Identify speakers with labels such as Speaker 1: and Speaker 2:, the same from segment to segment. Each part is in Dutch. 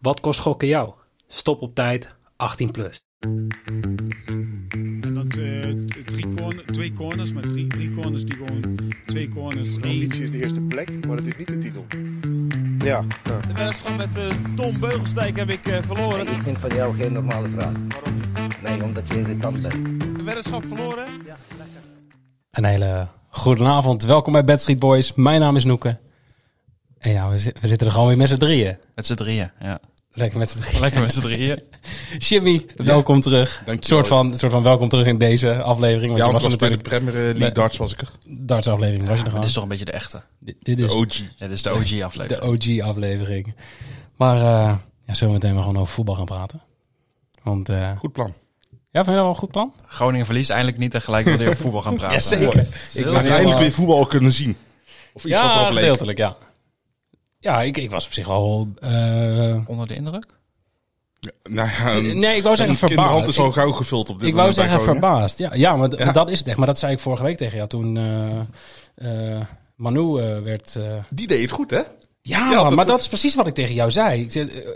Speaker 1: Wat kost gokken jou? Stop op tijd, 18 plus.
Speaker 2: En dat eh, t- drie corner, twee corners, maar drie, drie corners die gewoon twee corners.
Speaker 3: De
Speaker 2: één.
Speaker 3: ambitie is de eerste plek, maar het is niet de titel. Ja, ja.
Speaker 4: De wedstrijd met eh, Tom Beugelsdijk heb ik eh, verloren.
Speaker 5: Ik vind van jou geen normale vraag. Nee, omdat je irritant bent.
Speaker 4: De wedstrijd verloren.
Speaker 6: Een hele goede avond. Welkom bij Bad Street Boys. Mijn naam is Noeke. En ja, we, zi- we zitten er gewoon weer met z'n drieën.
Speaker 7: Met z'n drieën, ja.
Speaker 6: Lekker met z'n drieën.
Speaker 7: Lekker met z'n drieën.
Speaker 6: Jimmy, welkom terug. Een soort van, soort van welkom terug in deze aflevering. Want
Speaker 8: Ja,
Speaker 6: je
Speaker 8: want
Speaker 6: was
Speaker 8: het
Speaker 6: er
Speaker 8: was bij de
Speaker 6: natuurlijk
Speaker 8: Premier League
Speaker 6: Nee.
Speaker 8: darts was ik er.
Speaker 6: darts aflevering. Was je er
Speaker 7: Dit
Speaker 6: gewoon?
Speaker 7: is toch een beetje de echte.
Speaker 6: Dit- Dit
Speaker 8: De
Speaker 6: is
Speaker 8: OG.
Speaker 7: Dit is de OG-aflevering.
Speaker 6: de OG aflevering. Maar eh ja, zullen we meteen maar gewoon over voetbal gaan praten? Want eh,
Speaker 8: Goed plan.
Speaker 6: ja, vind je dat wel een goed plan?
Speaker 7: Groningen verliest eindelijk niet en gelijk weer weer over voetbal gaan praten.
Speaker 6: Ik
Speaker 8: Maar uiteindelijk weer voetbal kunnen zien. Of iets wat
Speaker 6: Ja,
Speaker 8: erop leek.
Speaker 6: gedeeltelijk, ja. Ja, ik, ik was op zich al... eh,
Speaker 7: Onder de indruk?
Speaker 8: Nou ja, een-
Speaker 6: nee, ik wou zeggen
Speaker 8: een
Speaker 6: verbaasd.
Speaker 8: kinderhand is al gauw gevuld op dit
Speaker 6: Ik wou
Speaker 8: moment bij
Speaker 6: zeggen
Speaker 8: Groningen.
Speaker 6: verbaasd. Ja, ja, maar d-
Speaker 8: Ja.
Speaker 6: dat is het echt. Maar dat zei ik vorige week tegen jou toen eh, eh, Manu eh, werd... eh,
Speaker 8: Die deed het goed, hè?
Speaker 6: Ja,
Speaker 8: dat-
Speaker 6: maar dat,
Speaker 8: dat-
Speaker 6: is precies wat ik tegen jou zei. Ik, zei, eh,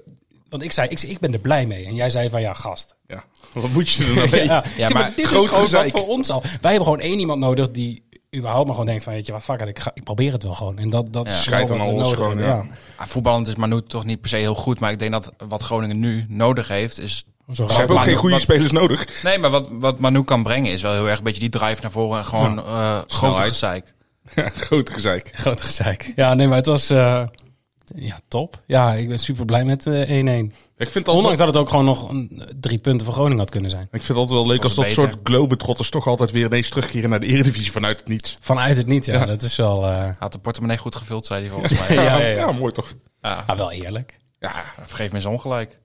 Speaker 6: want ik zei, ik, ik ben er blij mee. En jij zei van, ja, gast.
Speaker 8: Ja. Wat moet je er nou mee?
Speaker 6: Ja, ik zeg, maar
Speaker 7: maar
Speaker 6: dit
Speaker 8: groot
Speaker 6: is gewoon wat
Speaker 8: gezeik.
Speaker 6: voor ons al. Wij hebben gewoon één iemand nodig die überhaupt maar gewoon denkt van, weet je wat, fuck it, ik, ga, ik probeer het wel gewoon. En dat, dat
Speaker 7: Ja.
Speaker 6: is
Speaker 8: Schijt
Speaker 6: wel
Speaker 8: aan
Speaker 6: wat we
Speaker 8: alles
Speaker 6: nodig
Speaker 8: gewoon,
Speaker 6: hebben,
Speaker 8: ja.
Speaker 7: Ah, voetballend is Manu toch niet per se heel goed. Maar ik denk dat wat Groningen nu nodig heeft is...
Speaker 6: Zo'n
Speaker 8: Ze hebben ook
Speaker 7: Maar
Speaker 8: geen goede
Speaker 7: wat-
Speaker 8: spelers nodig.
Speaker 7: Nee, maar wat, wat Manu kan brengen is wel heel erg een beetje die drive naar voren. En gewoon eh grote
Speaker 8: Snelheid.
Speaker 7: gezeik.
Speaker 8: Groot gezeik.
Speaker 6: groot gezeik. Ja, nee, maar het was... eh, ja, top. Ja, ik ben super blij met eh, 1-1.
Speaker 8: Ik vind het
Speaker 6: Ondanks
Speaker 8: altijd,
Speaker 6: dat het ook gewoon nog een, drie punten voor Groningen had kunnen zijn.
Speaker 8: ik vind het altijd wel leuk als
Speaker 7: Was
Speaker 8: dat
Speaker 7: beter.
Speaker 8: soort globetrotters toch altijd weer ineens terugkeren naar de Eredivisie vanuit het niets.
Speaker 6: Vanuit het niet, ja.
Speaker 8: Ja.
Speaker 6: Dat is wel, eh,
Speaker 7: Had de portemonnee goed gevuld, zei hij volgens mij.
Speaker 6: Ja, ja, ja.
Speaker 8: mooi toch?
Speaker 6: ah, wel eerlijk.
Speaker 7: Ja, vergeef me eens ongelijk.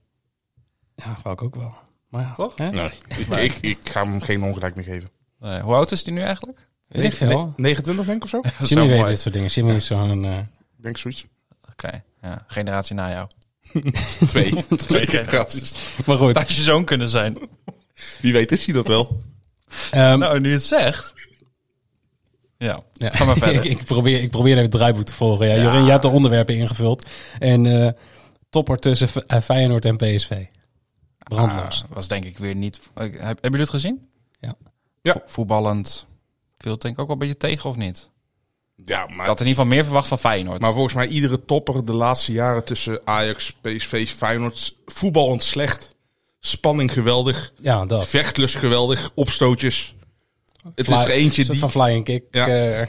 Speaker 6: Ja, wou ik ook wel. Maar ja,
Speaker 7: Toch?
Speaker 6: hè?
Speaker 8: Nee, ik, ik, ik ga hem geen ongelijk meer geven.
Speaker 7: Nee, hoe oud is die nu eigenlijk?
Speaker 6: Weet ik veel.
Speaker 8: 29 denk ik of zo?
Speaker 7: is
Speaker 6: Jimmy
Speaker 7: wel
Speaker 6: weet
Speaker 7: mooi.
Speaker 6: dit soort dingen. Jimmy is zo'n... eh,
Speaker 8: Ik denk zoiets.
Speaker 7: Oké, ja, generatie na jou.
Speaker 8: Twee. Twee generaties.
Speaker 6: Maar goed.
Speaker 7: Dat had je zoon kunnen zijn.
Speaker 8: Wie weet is hij dat wel.
Speaker 6: ehm,
Speaker 7: Nou, nu je het zegt. Ja,
Speaker 6: ja.
Speaker 7: ga maar verder.
Speaker 6: ik, ik probeer, ik probeer even het draaiboek te volgen. Ja, Jorin, jij hebt de onderwerpen ingevuld. En eh, topper tussen F- eh, Feyenoord en PSV. Brandloos.
Speaker 7: Ah, was denk ik weer niet... eh, heb- Hebben jullie het gezien?
Speaker 6: Ja.
Speaker 8: Ja.
Speaker 7: Vo- voetballend viel het denk ik ook wel een beetje tegen, of niet?
Speaker 8: Ja,
Speaker 7: Ik
Speaker 8: maar
Speaker 7: had in ieder geval meer verwacht van Feyenoord.
Speaker 8: Maar volgens mij iedere topper de laatste jaren tussen Ajax, PSV, Feyenoord, voetballend slecht. Spanning geweldig,
Speaker 6: ja, dat.
Speaker 8: vechtlust geweldig, opstootjes. Het is er
Speaker 6: Fly-
Speaker 8: eentje
Speaker 6: soort
Speaker 8: die...
Speaker 6: van flying kick.
Speaker 8: Ja.
Speaker 6: eh,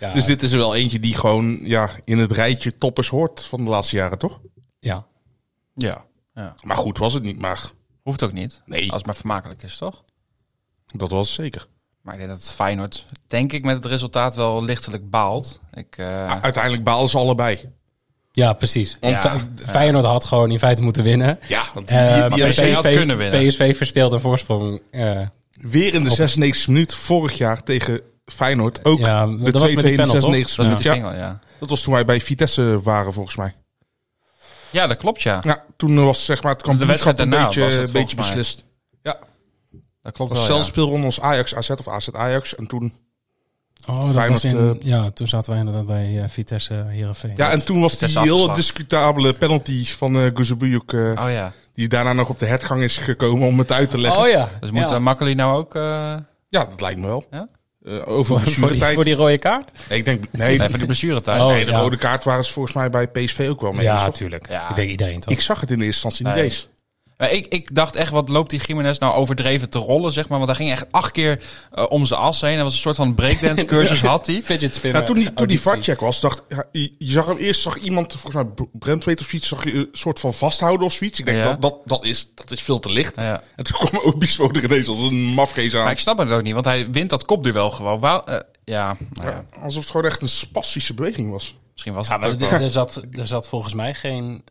Speaker 6: ja,
Speaker 8: Dus dit is er wel eentje die gewoon ja, in het rijtje toppers hoort van de laatste jaren, toch?
Speaker 6: ja.
Speaker 7: Ja. ja.
Speaker 8: Maar goed was het niet, maar
Speaker 7: Hoeft ook niet.
Speaker 8: Nee.
Speaker 7: Als het maar vermakelijk is, toch?
Speaker 8: dat was het zeker.
Speaker 7: Maar ik denk dat Feyenoord, denk ik, met het resultaat wel lichtelijk baalt. Ik, eh,
Speaker 8: U- Uiteindelijk balen ze allebei.
Speaker 6: ja, precies. Want
Speaker 7: Ja.
Speaker 6: Fe- Feyenoord had gewoon in feite moeten winnen.
Speaker 8: Ja, want die,
Speaker 6: Eh,
Speaker 8: die- die
Speaker 6: maar
Speaker 8: hebben
Speaker 7: PSV had kunnen winnen.
Speaker 6: PSV verspeelt een voorsprong. eh,
Speaker 8: weer in de 96e minuut vorig jaar tegen Feyenoord ook
Speaker 6: Ja, dat
Speaker 8: de 2-2
Speaker 6: was met die
Speaker 8: in
Speaker 6: panel, toch?
Speaker 8: de 96e
Speaker 7: dat is met
Speaker 8: minuut.
Speaker 7: die
Speaker 8: Ja,
Speaker 7: pingel, ja.
Speaker 8: dat was toen wij bij Vitesse waren volgens mij.
Speaker 7: Ja, dat klopt, ja.
Speaker 8: Ja, toen was zeg maar het
Speaker 7: wedstrijd
Speaker 8: kampioenschap een
Speaker 7: daarna
Speaker 8: beetje,
Speaker 7: was het
Speaker 8: een beetje
Speaker 7: volgens mij.
Speaker 8: beslist. Ja,
Speaker 7: Dat klopt
Speaker 8: was
Speaker 7: wel,
Speaker 8: zelfs
Speaker 7: ja.
Speaker 8: speelronde ons Ajax AZ of AZ Ajax en toen
Speaker 6: Oh, dat
Speaker 8: Feyenoord,
Speaker 6: was in,
Speaker 8: eh,
Speaker 6: ja, toen zaten wij inderdaad bij eh, Vitesse Heerenveen.
Speaker 8: ja, en toen was
Speaker 7: is
Speaker 8: die heel
Speaker 7: afgeslagen.
Speaker 8: discutabele penalty van eh Guzebuyuk, eh,
Speaker 7: Oh ja.
Speaker 8: die daarna nog op de hertgang is gekomen om het uit te leggen.
Speaker 6: oh ja.
Speaker 7: Dus moet
Speaker 6: Ja.
Speaker 7: ja. Makkeli nou ook... eh,
Speaker 8: Ja, dat lijkt me wel.
Speaker 7: Ja?
Speaker 8: Eh, over
Speaker 6: voor, voor, die,
Speaker 8: blessuretijd.
Speaker 6: voor die rode kaart?
Speaker 8: Nee, ik denk nee,
Speaker 7: even die blessuretijd.
Speaker 6: Oh,
Speaker 8: nee, de
Speaker 6: ja.
Speaker 8: rode kaart waren ze volgens mij bij PSV ook wel mee. Dus dat-
Speaker 6: natuurlijk.
Speaker 7: Ja.
Speaker 6: Ik denk iedereen toch?
Speaker 8: ik zag het in de eerste instantie
Speaker 7: Nee.
Speaker 8: niet eens.
Speaker 7: Maar ik, ik dacht echt, wat loopt die Jiménez nou overdreven te rollen, zeg maar. Want hij ging echt acht keer eh, om zijn as heen. Dat was een soort van breakdance cursus had hij.
Speaker 6: fidget spinner.
Speaker 8: Ja, toen
Speaker 7: eh,
Speaker 8: die, toen die
Speaker 6: auditie.
Speaker 8: vakcheck was, dacht ja, je, je zag hem eerst zag iemand, volgens mij Br- Brent weet of zoiets, zag je een soort van vasthouden of zoiets. Ik denk
Speaker 7: Ja.
Speaker 8: dat, dat, dat, is, dat is veel te licht.
Speaker 7: Ja.
Speaker 8: En toen kwam Obispo er ineens als een mafkees aan.
Speaker 7: Maar ik snap het ook niet, want hij wint dat kopduel gewoon. Waar, eh, ja, nou ja,
Speaker 8: Ja, alsof het gewoon echt een spastische beweging was.
Speaker 7: misschien was
Speaker 6: Ja,
Speaker 7: het
Speaker 6: maar
Speaker 7: ook
Speaker 6: d-
Speaker 7: wel.
Speaker 6: er, zat, er zat volgens mij geen...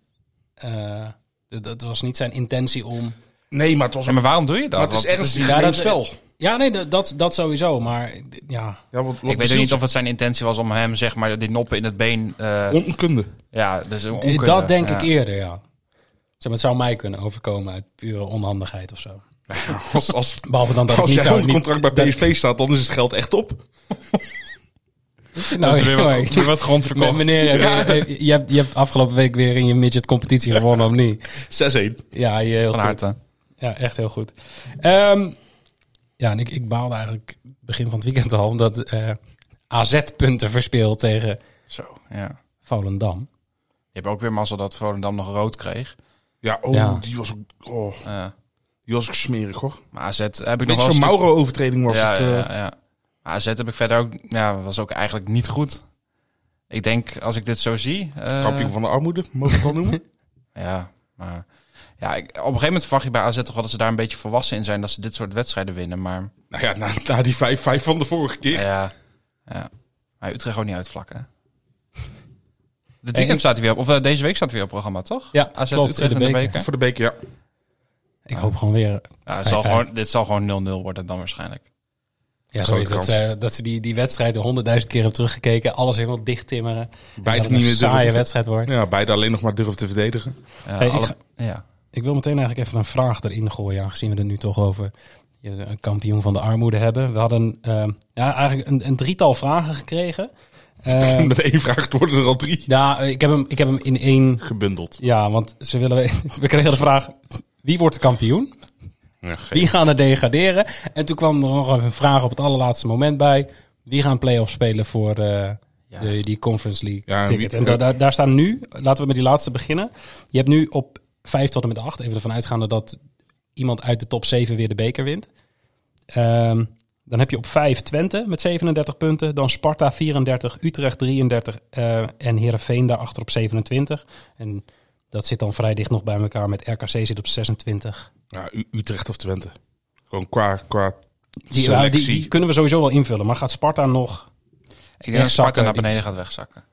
Speaker 6: eh, d- dat was niet zijn intentie om...
Speaker 8: Nee, maar het was
Speaker 7: Ja, maar waarom doe je dat?
Speaker 8: maar het is
Speaker 7: Want
Speaker 8: ernstig
Speaker 6: ja,
Speaker 8: ja,
Speaker 6: dat-
Speaker 8: spel.
Speaker 6: Ja, nee, dat- dat, dat sowieso. Maar d- ja,
Speaker 8: Ja, want,
Speaker 7: Ik weet ook niet of het zijn intentie was om hem, zeg maar, die noppen in het been... eh,
Speaker 8: Onkunde.
Speaker 7: ja, dus een
Speaker 6: Eh,
Speaker 7: onkunde.
Speaker 6: dat denk
Speaker 7: Ja.
Speaker 6: ik eerder, ja. Zeg maar, het zou mij kunnen overkomen uit pure onhandigheid of zo.
Speaker 8: Als, als,
Speaker 6: Behalve dan dat
Speaker 8: als
Speaker 6: ik niet
Speaker 8: jij
Speaker 6: zou...
Speaker 8: een contract bij
Speaker 6: dat-
Speaker 7: Oh,
Speaker 8: PSV staat, dan is het geld echt op.
Speaker 7: dat is Dus weer wat,
Speaker 6: jongen,
Speaker 7: weer wat grond verkocht.
Speaker 6: Nou Meneer, heb je, heb- je, hebt, je hebt afgelopen week weer in je midget competitie gewonnen, of niet?
Speaker 8: 6-1.
Speaker 6: Ja, je, heel
Speaker 7: Van
Speaker 6: goed.
Speaker 7: harte.
Speaker 6: Ja, echt heel goed. Ehm, ja, en ik, ik baalde eigenlijk begin van het weekend al, omdat eh, AZ punten verspeelt tegen
Speaker 7: Zo, ja.
Speaker 6: Volendam.
Speaker 7: Je hebt ook weer mazzel dat Volendam nog rood kreeg.
Speaker 8: Ja, oh,
Speaker 6: Ja.
Speaker 8: die was ook... Oh,
Speaker 7: Eh,
Speaker 8: die was ook smerig, hoor.
Speaker 7: maar AZ heb ik nog
Speaker 8: Niet
Speaker 7: wel
Speaker 8: zo'n
Speaker 7: een stuk-
Speaker 8: Mauro-overtreding was
Speaker 7: ja,
Speaker 8: het.
Speaker 7: ja,
Speaker 8: eh,
Speaker 7: ja, ja. Maar AZ heb ik verder ook... Ja, was ook eigenlijk niet goed. Ik denk, als ik dit zo zie... eh,
Speaker 8: Kampioen van de armoede, mogen we het wel noemen.
Speaker 7: Ja, maar... Ja, ik- op een gegeven moment verwacht je bij AZ toch wel dat ze daar een beetje volwassen in zijn. Dat ze dit soort wedstrijden winnen. Maar
Speaker 8: nou ja, na, na die 5-5 van de vorige keer.
Speaker 7: ja, ja. Maar Utrecht ook niet uitvlakken. Dit
Speaker 6: En ik-
Speaker 7: weekend staat hij weer op... Of eh, deze week staat hij weer op programma, toch?
Speaker 6: Ja,
Speaker 7: AZ
Speaker 6: klopt,
Speaker 7: Utrecht in de beker.
Speaker 8: Voor de beker, ja.
Speaker 6: Ik hoop gewoon weer
Speaker 7: Ja, het zal
Speaker 6: 5-5.
Speaker 7: gewoon, dit zal gewoon 0-0 worden dan waarschijnlijk.
Speaker 6: ja,
Speaker 7: Grote
Speaker 6: zoiets, dat, ze, dat ze die, die wedstrijd honderdduizend keer hebben teruggekeken. Alles helemaal dicht timmeren.
Speaker 8: Beide
Speaker 6: dat het
Speaker 8: niet
Speaker 6: een
Speaker 8: meer
Speaker 6: saaie
Speaker 8: durven.
Speaker 6: wedstrijd wordt.
Speaker 8: Ja, beide alleen nog maar durven te verdedigen.
Speaker 7: Ja,
Speaker 6: Hey, ik
Speaker 7: alle-
Speaker 6: ga-
Speaker 7: ja.
Speaker 6: Ik wil meteen eigenlijk even een vraag erin gooien, aangezien we er nu toch over je- een kampioen van de armoede hebben. We hadden ehm, ja, eigenlijk een, een drietal vragen gekregen. Eh,
Speaker 8: Met één vraag worden er al drie
Speaker 6: ja, ik heb, hem, ik heb hem in één.
Speaker 8: gebundeld.
Speaker 6: Ja, want ze willen weten- we kregen de vraag: wie wordt de kampioen?
Speaker 8: Ja,
Speaker 6: Wie gaan er degraderen? En toen kwam er nog even een vraag op het allerlaatste moment bij: wie gaan play-off spelen voor eh, de, die Conference League
Speaker 8: Ja, en
Speaker 6: ticket?
Speaker 8: wie-
Speaker 6: en da- daar, daar staan nu, laten we met die laatste beginnen. Je hebt nu op 5 tot en met 8, even ervan uitgaande dat iemand uit de top 7 weer de beker wint. Ehm, dan heb je op 5 Twente met 37 punten. Dan Sparta 34, Utrecht 33 eh, en Heerenveen daarachter op 27. En dat zit dan vrij dicht nog bij elkaar met RKC zit op 26.
Speaker 8: U- Utrecht of Twente. Gewoon qua, qua
Speaker 6: Die, nou,
Speaker 8: selectie.
Speaker 6: die, die kunnen we sowieso wel invullen. Maar gaat Sparta
Speaker 7: Nou,
Speaker 6: nog...
Speaker 7: Ik denk dat Sparta
Speaker 6: Wegzakken,
Speaker 7: naar
Speaker 6: die-
Speaker 7: beneden gaat wegzakken.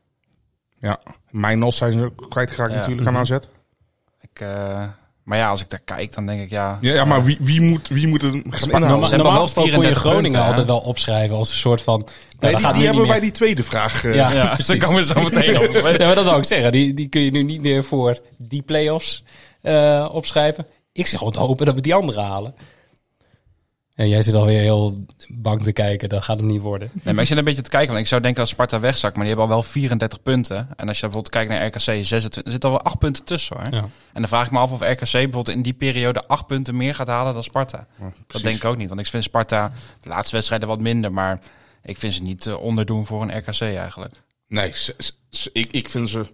Speaker 8: Ja, mijn nos zijn ze ook kwijtgeraakt
Speaker 7: Ja.
Speaker 8: natuurlijk aan
Speaker 6: Mhm.
Speaker 8: AZ.
Speaker 7: Ik, eh, maar ja, als ik daar kijk, dan denk ik ja.
Speaker 8: Ja, ja maar wie, wie, moet, wie moet het gaan
Speaker 7: Sparta- ze
Speaker 8: inhalen?
Speaker 7: hebben
Speaker 6: Nou, normaal
Speaker 7: wel
Speaker 6: gesproken kon je
Speaker 7: 34
Speaker 6: Groningen
Speaker 7: punten, hè?
Speaker 6: altijd wel opschrijven als een soort van... nou,
Speaker 8: Nee,
Speaker 6: dat
Speaker 8: die
Speaker 6: gaat
Speaker 8: die
Speaker 6: nu
Speaker 8: hebben we
Speaker 6: niet
Speaker 8: bij
Speaker 6: meer.
Speaker 8: die tweede vraag. eh,
Speaker 6: Ja,
Speaker 7: Ja,
Speaker 6: precies.
Speaker 7: daar komen we zo meteen op.
Speaker 6: Ja, maar dat wou ik zeggen. Die, die kun je nu niet meer voor die play-offs eh, opschrijven. Ik zeg gewoon te hopen dat we die andere halen. En jij zit alweer heel bang te kijken. Dat gaat hem niet worden.
Speaker 7: Nee, maar ik zit een beetje te kijken, want ik zou denken dat Sparta wegzakt, maar die hebben al wel 34 punten. En als je bijvoorbeeld kijkt naar RKC 26, er zit al wel 8 punten tussen hoor.
Speaker 6: Ja.
Speaker 7: En dan vraag ik me af of RKC bijvoorbeeld in die periode 8 punten meer gaat halen dan Sparta. dat denk ik ook niet, want ik vind Sparta de laatste wedstrijden wat minder, maar ik vind ze niet eh, onderdoen voor een RKC eigenlijk.
Speaker 8: Nee, ze- ze- ze- ik, ik vind ze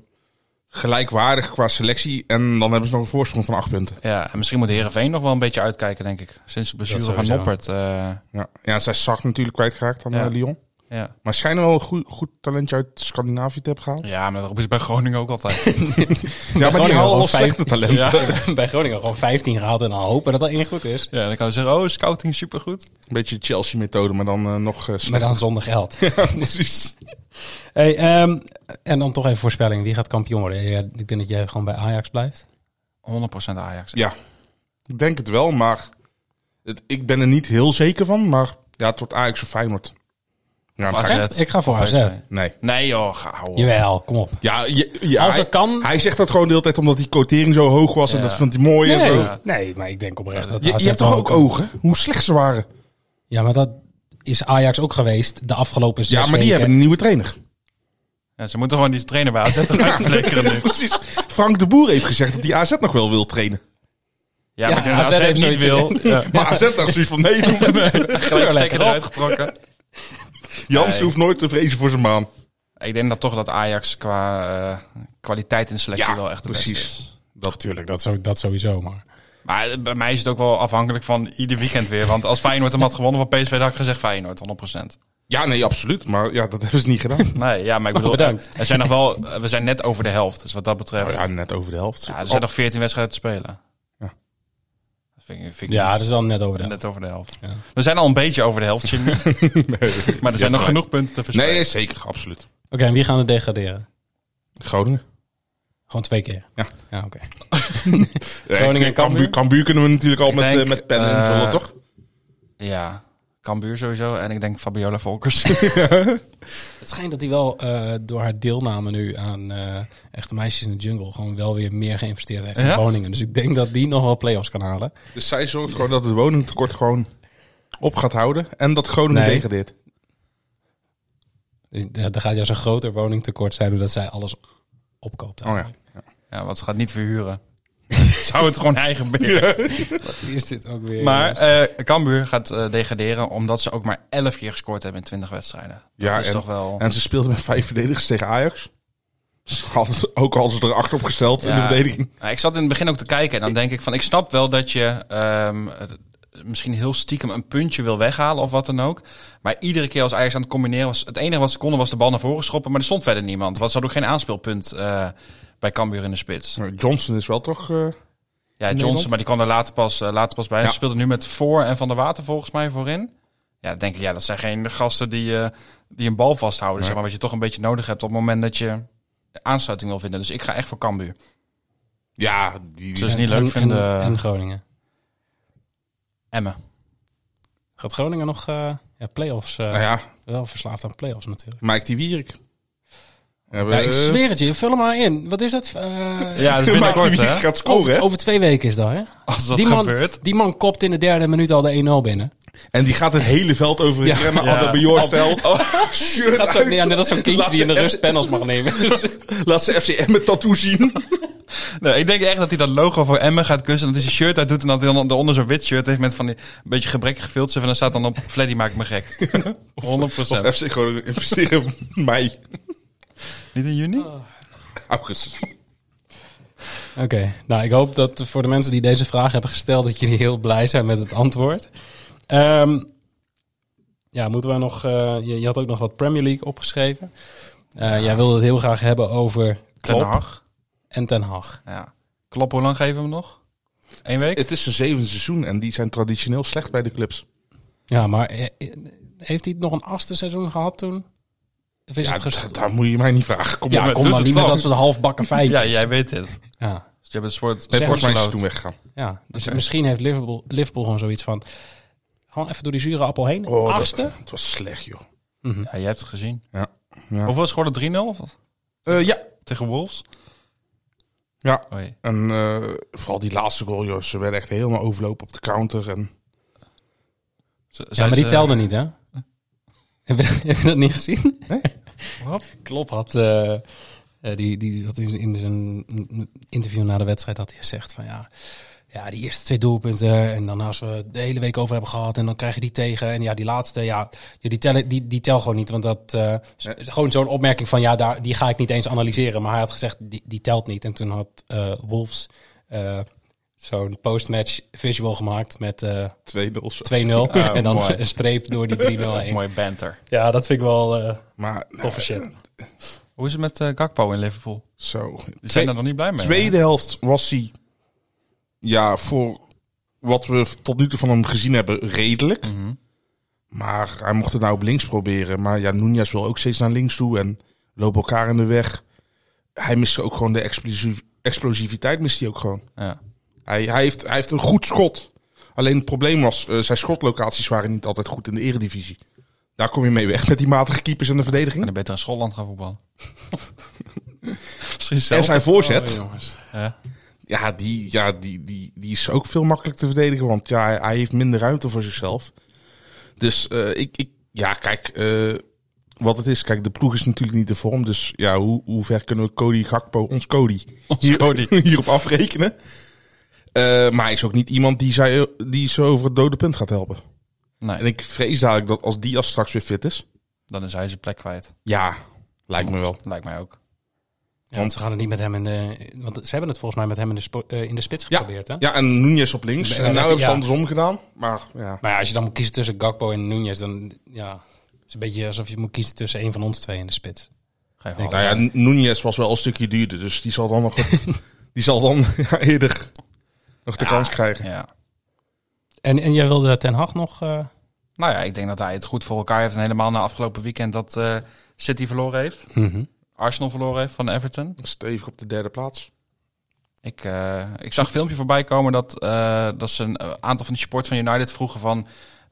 Speaker 8: gelijkwaardig qua selectie. En dan hebben ze nog een voorsprong van acht punten.
Speaker 7: Ja, en misschien moet Herenveen nog wel een beetje uitkijken, denk ik. Sinds de blessure van
Speaker 6: sowieso.
Speaker 7: Noppert. eh,
Speaker 8: Ja, ja zij is Sar natuurlijk kwijtgeraakt aan
Speaker 7: Ja.
Speaker 8: eh, Lyon.
Speaker 7: ja.
Speaker 8: Maar ze schijnen wel een goed, goed talentje uit Scandinavië te hebben gehaald.
Speaker 7: ja, maar dat roepen ze bij Groningen ook altijd.
Speaker 8: Ja, maar die
Speaker 6: Groningen
Speaker 8: halen
Speaker 6: wel
Speaker 8: al
Speaker 6: vijf-
Speaker 8: slechte talenten.
Speaker 6: bij Groningen gewoon 15 gehaald. En dan hopen dat dat één goed is.
Speaker 7: ja, dan kan je zeggen, oh, scouting supergoed.
Speaker 8: Een beetje Chelsea-methode, maar dan eh, nog eh,
Speaker 6: Maar
Speaker 8: slechter.
Speaker 6: dan zonder geld.
Speaker 8: Precies.
Speaker 6: Hey, ehm, en dan toch even voorspelling. Wie gaat kampioen worden? Ja, ik denk dat jij gewoon bij Ajax blijft.
Speaker 7: 100% Ajax.
Speaker 8: Ja, ik denk het wel, maar het, ik ben er niet heel zeker van. Maar ja, het wordt Ajax of Feyenoord. Ja,
Speaker 7: Of AZ.
Speaker 8: Ajax-
Speaker 6: Ik ga voor
Speaker 7: Of
Speaker 6: AZ.
Speaker 7: PSV.
Speaker 8: Nee.
Speaker 7: Nee joh, ga houden.
Speaker 6: Jawel, kom op.
Speaker 8: Ja, je- ja,
Speaker 6: Als
Speaker 8: hij,
Speaker 6: het kan.
Speaker 8: hij zegt dat gewoon de hele tijd omdat die quotering zo hoog was. En
Speaker 7: Ja.
Speaker 8: dat vond hij mooi en
Speaker 6: Nee,
Speaker 8: zo.
Speaker 6: nee, maar ik denk oprecht dat
Speaker 8: Je,
Speaker 6: AZ
Speaker 8: je hebt toch
Speaker 6: wel-
Speaker 8: ook ogen? Hoe slecht ze waren.
Speaker 6: Ja, maar dat is Ajax ook geweest de afgelopen zes
Speaker 8: Ja, maar die
Speaker 6: weken.
Speaker 8: hebben een nieuwe trainer.
Speaker 7: Ja, ze moeten gewoon die trainer bij AZ eruit flikkeren nu.
Speaker 8: Precies. Frank de Boer heeft gezegd dat hij AZ nog wel wil trainen.
Speaker 7: Ja,
Speaker 6: Ja,
Speaker 7: maar de
Speaker 6: AZ
Speaker 7: AZ,
Speaker 6: heeft
Speaker 7: niet
Speaker 6: zoiets-
Speaker 7: wil. Ja,
Speaker 8: Maar AZ dacht zoiets van nee, doen we niet.
Speaker 7: gelijk
Speaker 6: lekker
Speaker 7: stekker
Speaker 6: op.
Speaker 7: eruit getrokken.
Speaker 8: Jansen
Speaker 7: Nee.
Speaker 8: hoeft nooit te vrezen voor zijn maan.
Speaker 7: Ik denk dat toch dat Ajax qua eh, kwaliteit in selectie
Speaker 8: Ja,
Speaker 7: wel echt de
Speaker 8: precies.
Speaker 7: beste is.
Speaker 6: Natuurlijk, dat, zo, dat sowieso. Maar
Speaker 7: Maar eh, bij mij is het ook wel afhankelijk van ieder weekend weer. Want als Feyenoord hem had gewonnen van PSV, dan had ik gezegd Feyenoord, 100%.
Speaker 8: Ja, nee, absoluut. Maar ja, dat hebben ze niet gedaan.
Speaker 7: Nee, ja, maar ik bedoel,
Speaker 6: bedankt.
Speaker 7: Er zijn nog wel, eh, we zijn net over de helft. Dus wat dat betreft,
Speaker 8: Nou ja,
Speaker 7: ja,
Speaker 8: net over de helft.
Speaker 7: er zijn nog 14 wedstrijden te spelen.
Speaker 8: Ja.
Speaker 7: Dat vind ik, vind ik
Speaker 6: ja,
Speaker 7: niet-
Speaker 6: dat is dan net over. de-
Speaker 7: net over de helft. We zijn al een beetje over de helft, Jimmy. maar er zijn nog genoeg punten te
Speaker 8: Nee,
Speaker 7: verspelen.
Speaker 8: nee, zeker, absoluut.
Speaker 6: Oké, en wie gaan er degraderen?
Speaker 8: Groningen.
Speaker 6: Gewoon twee keer.
Speaker 8: Ja.
Speaker 6: ja oké. Groningen
Speaker 8: Groningen
Speaker 6: en Cambuur?
Speaker 8: en Cambuur. Cambuur kunnen we natuurlijk al
Speaker 7: Ik
Speaker 8: met,
Speaker 7: denk,
Speaker 8: eh, met pennen
Speaker 7: eh,
Speaker 8: invullen, toch?
Speaker 7: Ja, Cambuur sowieso. En ik denk Fabiola Volkers.
Speaker 6: Het schijnt dat hij wel eh, door haar deelname nu aan eh, Echte Meisjes in de Jungle gewoon wel weer meer geïnvesteerd heeft in
Speaker 7: Ja?
Speaker 6: Groningen. Dus ik denk dat die nog wel play-offs kan halen.
Speaker 8: Dus zij zorgt gewoon dat het woningtekort gewoon op gaat houden. En dat Groningen
Speaker 6: Nee.
Speaker 8: degradeert.
Speaker 6: Dus, eh, Er gaat juist een groter woningtekort zijn doordat zij alles opkoopt.
Speaker 8: Oh ja.
Speaker 7: Ja, want ze gaat niet verhuren. Zou het gewoon eigen beren.
Speaker 6: Hier is dit ook weer.
Speaker 7: Maar
Speaker 6: jongens.
Speaker 7: eh Cambuur gaat eh, degraderen omdat ze ook maar 11 keer gescoord hebben in 20 wedstrijden. Dat
Speaker 8: Ja,
Speaker 7: is
Speaker 8: en-
Speaker 7: toch wel...
Speaker 8: En ze speelden met vijf verdedigers tegen Ajax. Ze hadden- Ook al ze er acht op gesteld in de
Speaker 7: Ja.
Speaker 8: verdediging.
Speaker 7: Nou, ik zat in het begin ook te kijken en dan denk ik van... Ik snap wel dat je ehm, eh, misschien heel stiekem een puntje wil weghalen of wat dan ook. Maar iedere keer als Ajax aan het combineren was... Het enige wat ze konden was de bal naar voren schoppen, maar er stond verder niemand. Want ze hadden ook geen aanspeelpunt eh, bij Cambuur in de spits.
Speaker 8: Maar Nou, Johnson is wel toch... eh,
Speaker 7: Ja,
Speaker 8: Nederland?
Speaker 7: Johnson, maar die kwam er later pas, eh, later pas bij.
Speaker 8: Ja.
Speaker 7: Ze speelde nu met Voor en Van der Water volgens mij voorin. Ja, dan denk ik, ja, dat zijn geen gasten die, eh, die een bal vasthouden. Zeg maar, wat je toch een beetje nodig hebt op het moment dat je aansluiting wil vinden. Dus ik ga echt voor Cambuur.
Speaker 8: ja, die,
Speaker 7: Ze is
Speaker 6: En-
Speaker 7: niet leuk
Speaker 6: en-
Speaker 7: vinden.
Speaker 6: En, en Groningen.
Speaker 7: Emmen.
Speaker 6: Gaat Groningen nog eh ja, play-offs? eh,
Speaker 7: Ah,
Speaker 8: nou ja,
Speaker 6: Wel verslaafd aan play-offs natuurlijk.
Speaker 8: Mike die Wierik. Eh,
Speaker 7: Eh.
Speaker 6: Ja, ik zweer het je, vul hem maar in. Wat is dat? Eh,
Speaker 7: Ja, dus
Speaker 8: Mike die
Speaker 7: binnenkort,
Speaker 8: Wierik
Speaker 7: hè?
Speaker 8: gaat scoren,
Speaker 6: over,
Speaker 8: hè?
Speaker 6: over twee weken is dat, hè?
Speaker 7: Als dat
Speaker 6: die, man,
Speaker 7: gebeurt.
Speaker 6: die man kopt in de derde minuut al de 1-0 binnen.
Speaker 8: En die gaat het hele veld over in
Speaker 6: Ja.
Speaker 8: remmen.
Speaker 7: Ja.
Speaker 8: Adebayor-stijl. Shirt
Speaker 6: Gaat zo,
Speaker 8: uit.
Speaker 6: ja, net als zo'n kindje
Speaker 8: Laat
Speaker 6: die in de
Speaker 8: ze
Speaker 6: rust
Speaker 8: even-
Speaker 6: panels mag nemen.
Speaker 8: Laat ze FCM met tattoo zien.
Speaker 7: Nee, ik denk echt dat hij dat logo voor Emmen gaat kussen. En dat hij zijn shirt uit doet. En dat hij dan daaronder zo'n wit shirt heeft met van die een beetje gebrekkig filter. En dan staat dan op, Fleddy maakt me gek. 100
Speaker 8: Of FC Groningen investeren in mei,
Speaker 7: Niet in juni?
Speaker 8: augustus.
Speaker 6: Oké, nou ik hoop dat voor de mensen die deze vraag hebben gesteld, dat jullie heel blij zijn met het antwoord. Ehm, ja, moeten we nog. eh, je, je had ook nog wat Premier League opgeschreven. Eh, Jij wilde het heel graag hebben over
Speaker 7: Ten
Speaker 6: Klopp
Speaker 7: Hag.
Speaker 6: en Ten Hag.
Speaker 7: Ja. Klop, hoe lang geven we hem nog? Eén week?
Speaker 8: Het is zijn zevende seizoen en die zijn traditioneel slecht bij de clubs.
Speaker 6: Ja, maar eh, eh, heeft hij nog een achtste seizoen gehad toen? Of is
Speaker 8: Ja,
Speaker 6: het gest-
Speaker 8: d- daar moet je mij niet vragen. Kom
Speaker 6: Ja,
Speaker 8: op.
Speaker 7: maar
Speaker 6: kom
Speaker 7: doet
Speaker 6: dan
Speaker 7: het
Speaker 6: niet met
Speaker 7: dan.
Speaker 6: dat soort halfbakken feitjes.
Speaker 7: Ja, jij weet het. Dus
Speaker 6: ja.
Speaker 7: je hebt het soort...
Speaker 8: Nee, volgens mij is ze
Speaker 7: soort-
Speaker 8: toen weggegaan.
Speaker 6: Ja, dus misschien heeft Liverpool, Liverpool gewoon zoiets van... Gewoon even door die zure appel heen.
Speaker 8: Oh, dat-
Speaker 6: Achtste.
Speaker 8: Het was slecht, joh.
Speaker 7: Ja, jij hebt het gezien.
Speaker 8: Ja. Ja.
Speaker 7: Of was het 3-0
Speaker 8: Eh, ja.
Speaker 7: tegen Wolves?
Speaker 8: ja.
Speaker 7: Oh, jee.
Speaker 8: En eh, vooral die laatste goal, joh. Ze werden echt helemaal overlopen op de counter. En...
Speaker 7: Z-
Speaker 6: Ja,
Speaker 7: zijn
Speaker 6: maar die
Speaker 7: ze-
Speaker 6: telde niet, hè? eh, Heb je, dat- heb je dat niet gezien?
Speaker 7: Wat?
Speaker 6: Klopp had, eh, eh, die, die, had in, in zijn interview na de wedstrijd had hij gezegd van ja... Ja, die eerste twee doelpunten en dan als we het de hele week over hebben gehad en dan krijg je die tegen. En ja, die laatste, ja, die, die, tellen, die, die tel gewoon niet. Want dat eh, is gewoon zo'n opmerking van ja, daar, die ga ik niet eens analyseren. Maar hij had gezegd, die, die telt niet. En toen had eh, Wolves eh, zo'n postmatch visual gemaakt met eh,
Speaker 8: 2-0. zo.
Speaker 6: 2-0. en dan
Speaker 7: mooi.
Speaker 6: een streep door die 3-0 heen.
Speaker 7: Mooi banter.
Speaker 6: Oh, Ja, dat vind ik wel eh
Speaker 8: Maar nou,
Speaker 6: toffe shit.
Speaker 7: Hoe is het met eh, Gakpo in Liverpool?
Speaker 8: zo.
Speaker 7: Die zijn daar nog niet blij mee. hè?
Speaker 8: tweede helft was hij, ja, voor wat we tot nu toe van hem gezien hebben, redelijk.
Speaker 7: Mhm.
Speaker 8: Maar hij mocht het nou op links proberen. Maar ja, Nunez wil ook steeds naar links toe en lopen elkaar in de weg. Hij miste ook gewoon de explosief, explosiviteit, mist hij ook gewoon.
Speaker 7: Ja.
Speaker 8: Hij, hij, heeft, hij heeft een goed schot. Alleen het probleem was, eh, zijn schotlocaties waren niet altijd goed in de eredivisie. Daar kom je mee weg met die matige keepers en de
Speaker 7: En
Speaker 8: verdediging.
Speaker 7: dan beter in Schotland gaan voetballen. Misschien
Speaker 8: En
Speaker 7: zelf.
Speaker 8: zijn voorzet.
Speaker 7: Ja.
Speaker 8: Ja, die, ja die, die, die is ook veel makkelijker te verdedigen. Want ja, hij- hij heeft minder ruimte voor zichzelf. Dus eh, ik, ik, ja, kijk, eh, wat het is. Kijk, de ploeg is natuurlijk niet de vorm. Dus ja, hoe, hoe ver kunnen we Cody Gakpo, ons Cody, hier, hierop afrekenen? Eh, maar hij is ook niet iemand die, zij, die ze over het dode punt gaat helpen.
Speaker 7: Nee,
Speaker 8: En ik vrees eigenlijk dat als Diaz straks weer fit is.
Speaker 7: dan is hij zijn plek kwijt.
Speaker 8: Ja, lijkt me wel.
Speaker 7: Lijkt mij ook.
Speaker 6: Ja, want ze gaan het niet met hem in de... Want ze hebben het volgens mij met hem in de, spo- eh, in de spits geprobeerd, hè?
Speaker 8: Ja, en Nunez op links.
Speaker 6: Ja,
Speaker 8: En nou
Speaker 6: ja.
Speaker 8: hebben ze andersom gedaan. Maar ja.
Speaker 6: Maar ja, als je dan moet kiezen tussen Gakpo en Nunez, dan... Ja, het is een beetje alsof je moet kiezen tussen een van ons twee in de spits.
Speaker 7: Ga even
Speaker 6: Ik-
Speaker 7: halen.
Speaker 8: Nou ja, Nunez was wel een stukje duurder, dus die zal dan nog die zal dan ja, eerder nog de kans krijgen.
Speaker 7: ja.
Speaker 6: En, en jij wilde Ten Hag nog... eh,
Speaker 7: Nou ja, ik denk dat hij het goed voor elkaar heeft. En helemaal na afgelopen weekend dat eh, City verloren heeft.
Speaker 6: Mhm.
Speaker 7: Arsenal verloren heeft van Everton.
Speaker 8: Stevig op de derde plaats.
Speaker 7: Ik, eh, ik zag een filmpje voorbij komen dat, eh, dat ze een eh, aantal van de support van United vroegen van...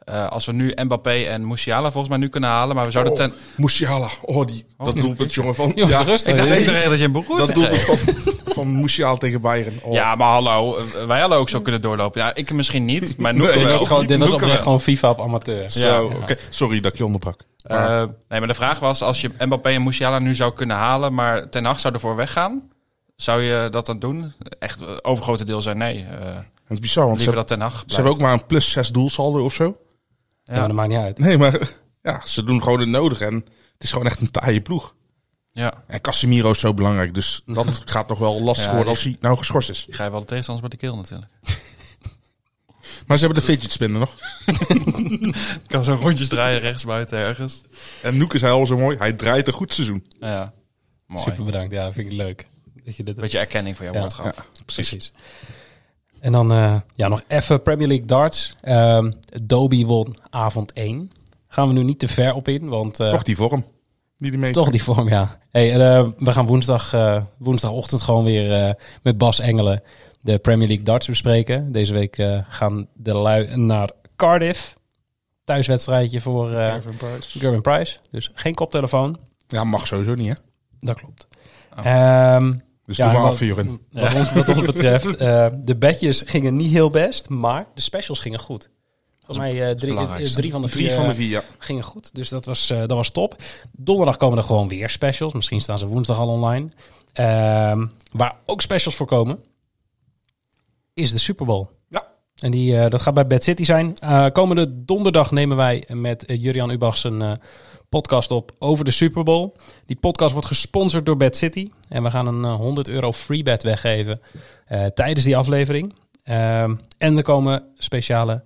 Speaker 7: eh, als we nu Mbappé en Musiala volgens mij nu kunnen halen, maar we zouden ten...
Speaker 8: Musiala, oh die, dat doelpunt jongen van.
Speaker 6: Jongens, rustig.
Speaker 8: ik dacht
Speaker 6: Nee,
Speaker 7: Ik
Speaker 8: even,
Speaker 7: dacht dat je een broek moet
Speaker 8: dat doelpunt
Speaker 7: zeggen.
Speaker 8: van, van Musiala tegen Bayern. Oh.
Speaker 7: Ja, maar hallo, eh, wij hadden ook zo kunnen doorlopen. Ja, ik misschien niet, maar Noeke
Speaker 8: Nee,
Speaker 7: wel.
Speaker 8: dat
Speaker 6: Dit was, gewoon,
Speaker 8: niet
Speaker 6: dit was
Speaker 8: Noeken
Speaker 6: oprecht
Speaker 8: wel.
Speaker 6: gewoon FIFA op amateur.
Speaker 8: Zo, oké. Sorry dat ik je onderbrak.
Speaker 7: Eh, nee, maar de vraag was, als je Mbappé en Musiala nu zou kunnen halen, maar Ten Hag zou ervoor weggaan, zou je dat dan doen? Echt, eh, overgrote deel zijn nee. eh
Speaker 8: Het is bizar, want
Speaker 7: liever
Speaker 8: ze, hebben-
Speaker 7: dat Ten Hag
Speaker 8: ze hebben ook maar een plus 6 doelsaldo of zo.
Speaker 6: Ja, maar dat maakt niet uit.
Speaker 8: Nee, maar ja, ze doen gewoon het nodig. En het is gewoon echt een taaie ploeg.
Speaker 7: Ja,
Speaker 8: En Casemiro is zo belangrijk, dus dat gaat nog wel lastig
Speaker 7: Ja,
Speaker 8: worden
Speaker 7: die-
Speaker 8: als hij nou geschorst is.
Speaker 7: die ga je wel de tegenstanders bij de keel natuurlijk.
Speaker 8: Maar ze hebben de fidget spinner nog.
Speaker 7: Kan zo rondjes draaien rechts buiten ergens.
Speaker 8: En Noek is hij al zo mooi. Hij draait een goed seizoen.
Speaker 7: Ja, mooi.
Speaker 6: Super bedankt. Ja, vind ik leuk. Dat je dit
Speaker 7: Beetje erkenning voor jouw
Speaker 6: Ja,
Speaker 7: boodschap.
Speaker 6: Precies. En dan eh, ja, nog even Premier League darts. Ehm Doby won avond 1. Gaan we nu niet te ver op in, want eh,
Speaker 8: Toch die vorm. Die die mee.
Speaker 6: toch die vorm, ja. Hey, en, eh, we gaan woensdag, eh, woensdagochtend gewoon weer eh, met Bas Engelen de Premier League darts bespreken. Deze week eh, gaan de lui naar Cardiff. Thuiswedstrijdje voor eh Gerwin Price. Dus geen koptelefoon.
Speaker 8: Ja, mag sowieso niet, hè?
Speaker 6: Dat klopt.
Speaker 7: Oh.
Speaker 6: Ehm,
Speaker 8: Dus
Speaker 6: Ja,
Speaker 8: doe maar
Speaker 6: en
Speaker 8: af, Jorin.
Speaker 6: wat, ons, wat ons betreft, eh, de bedjes gingen niet heel best, maar de specials gingen goed. Volgens mij eh, drie, eh,
Speaker 7: belangrijkste.
Speaker 6: drie van de vier,
Speaker 8: Drie van de vier, ja.
Speaker 6: eh, gingen goed, dus dat was, eh, dat was top. Donderdag komen er gewoon weer specials. Misschien staan ze woensdag al online. Ehm, waar ook specials voor komen, is de Super Bowl.
Speaker 8: Ja.
Speaker 6: En die, eh, dat gaat bij Bad City zijn. Eh, komende donderdag nemen wij met eh, Jurian Ubachs een eh, podcast op over de Super Bowl. Die podcast wordt gesponsord door Bad City. En we gaan een eh, 100 euro free bet weggeven eh, tijdens die aflevering. Ehm, en er komen speciale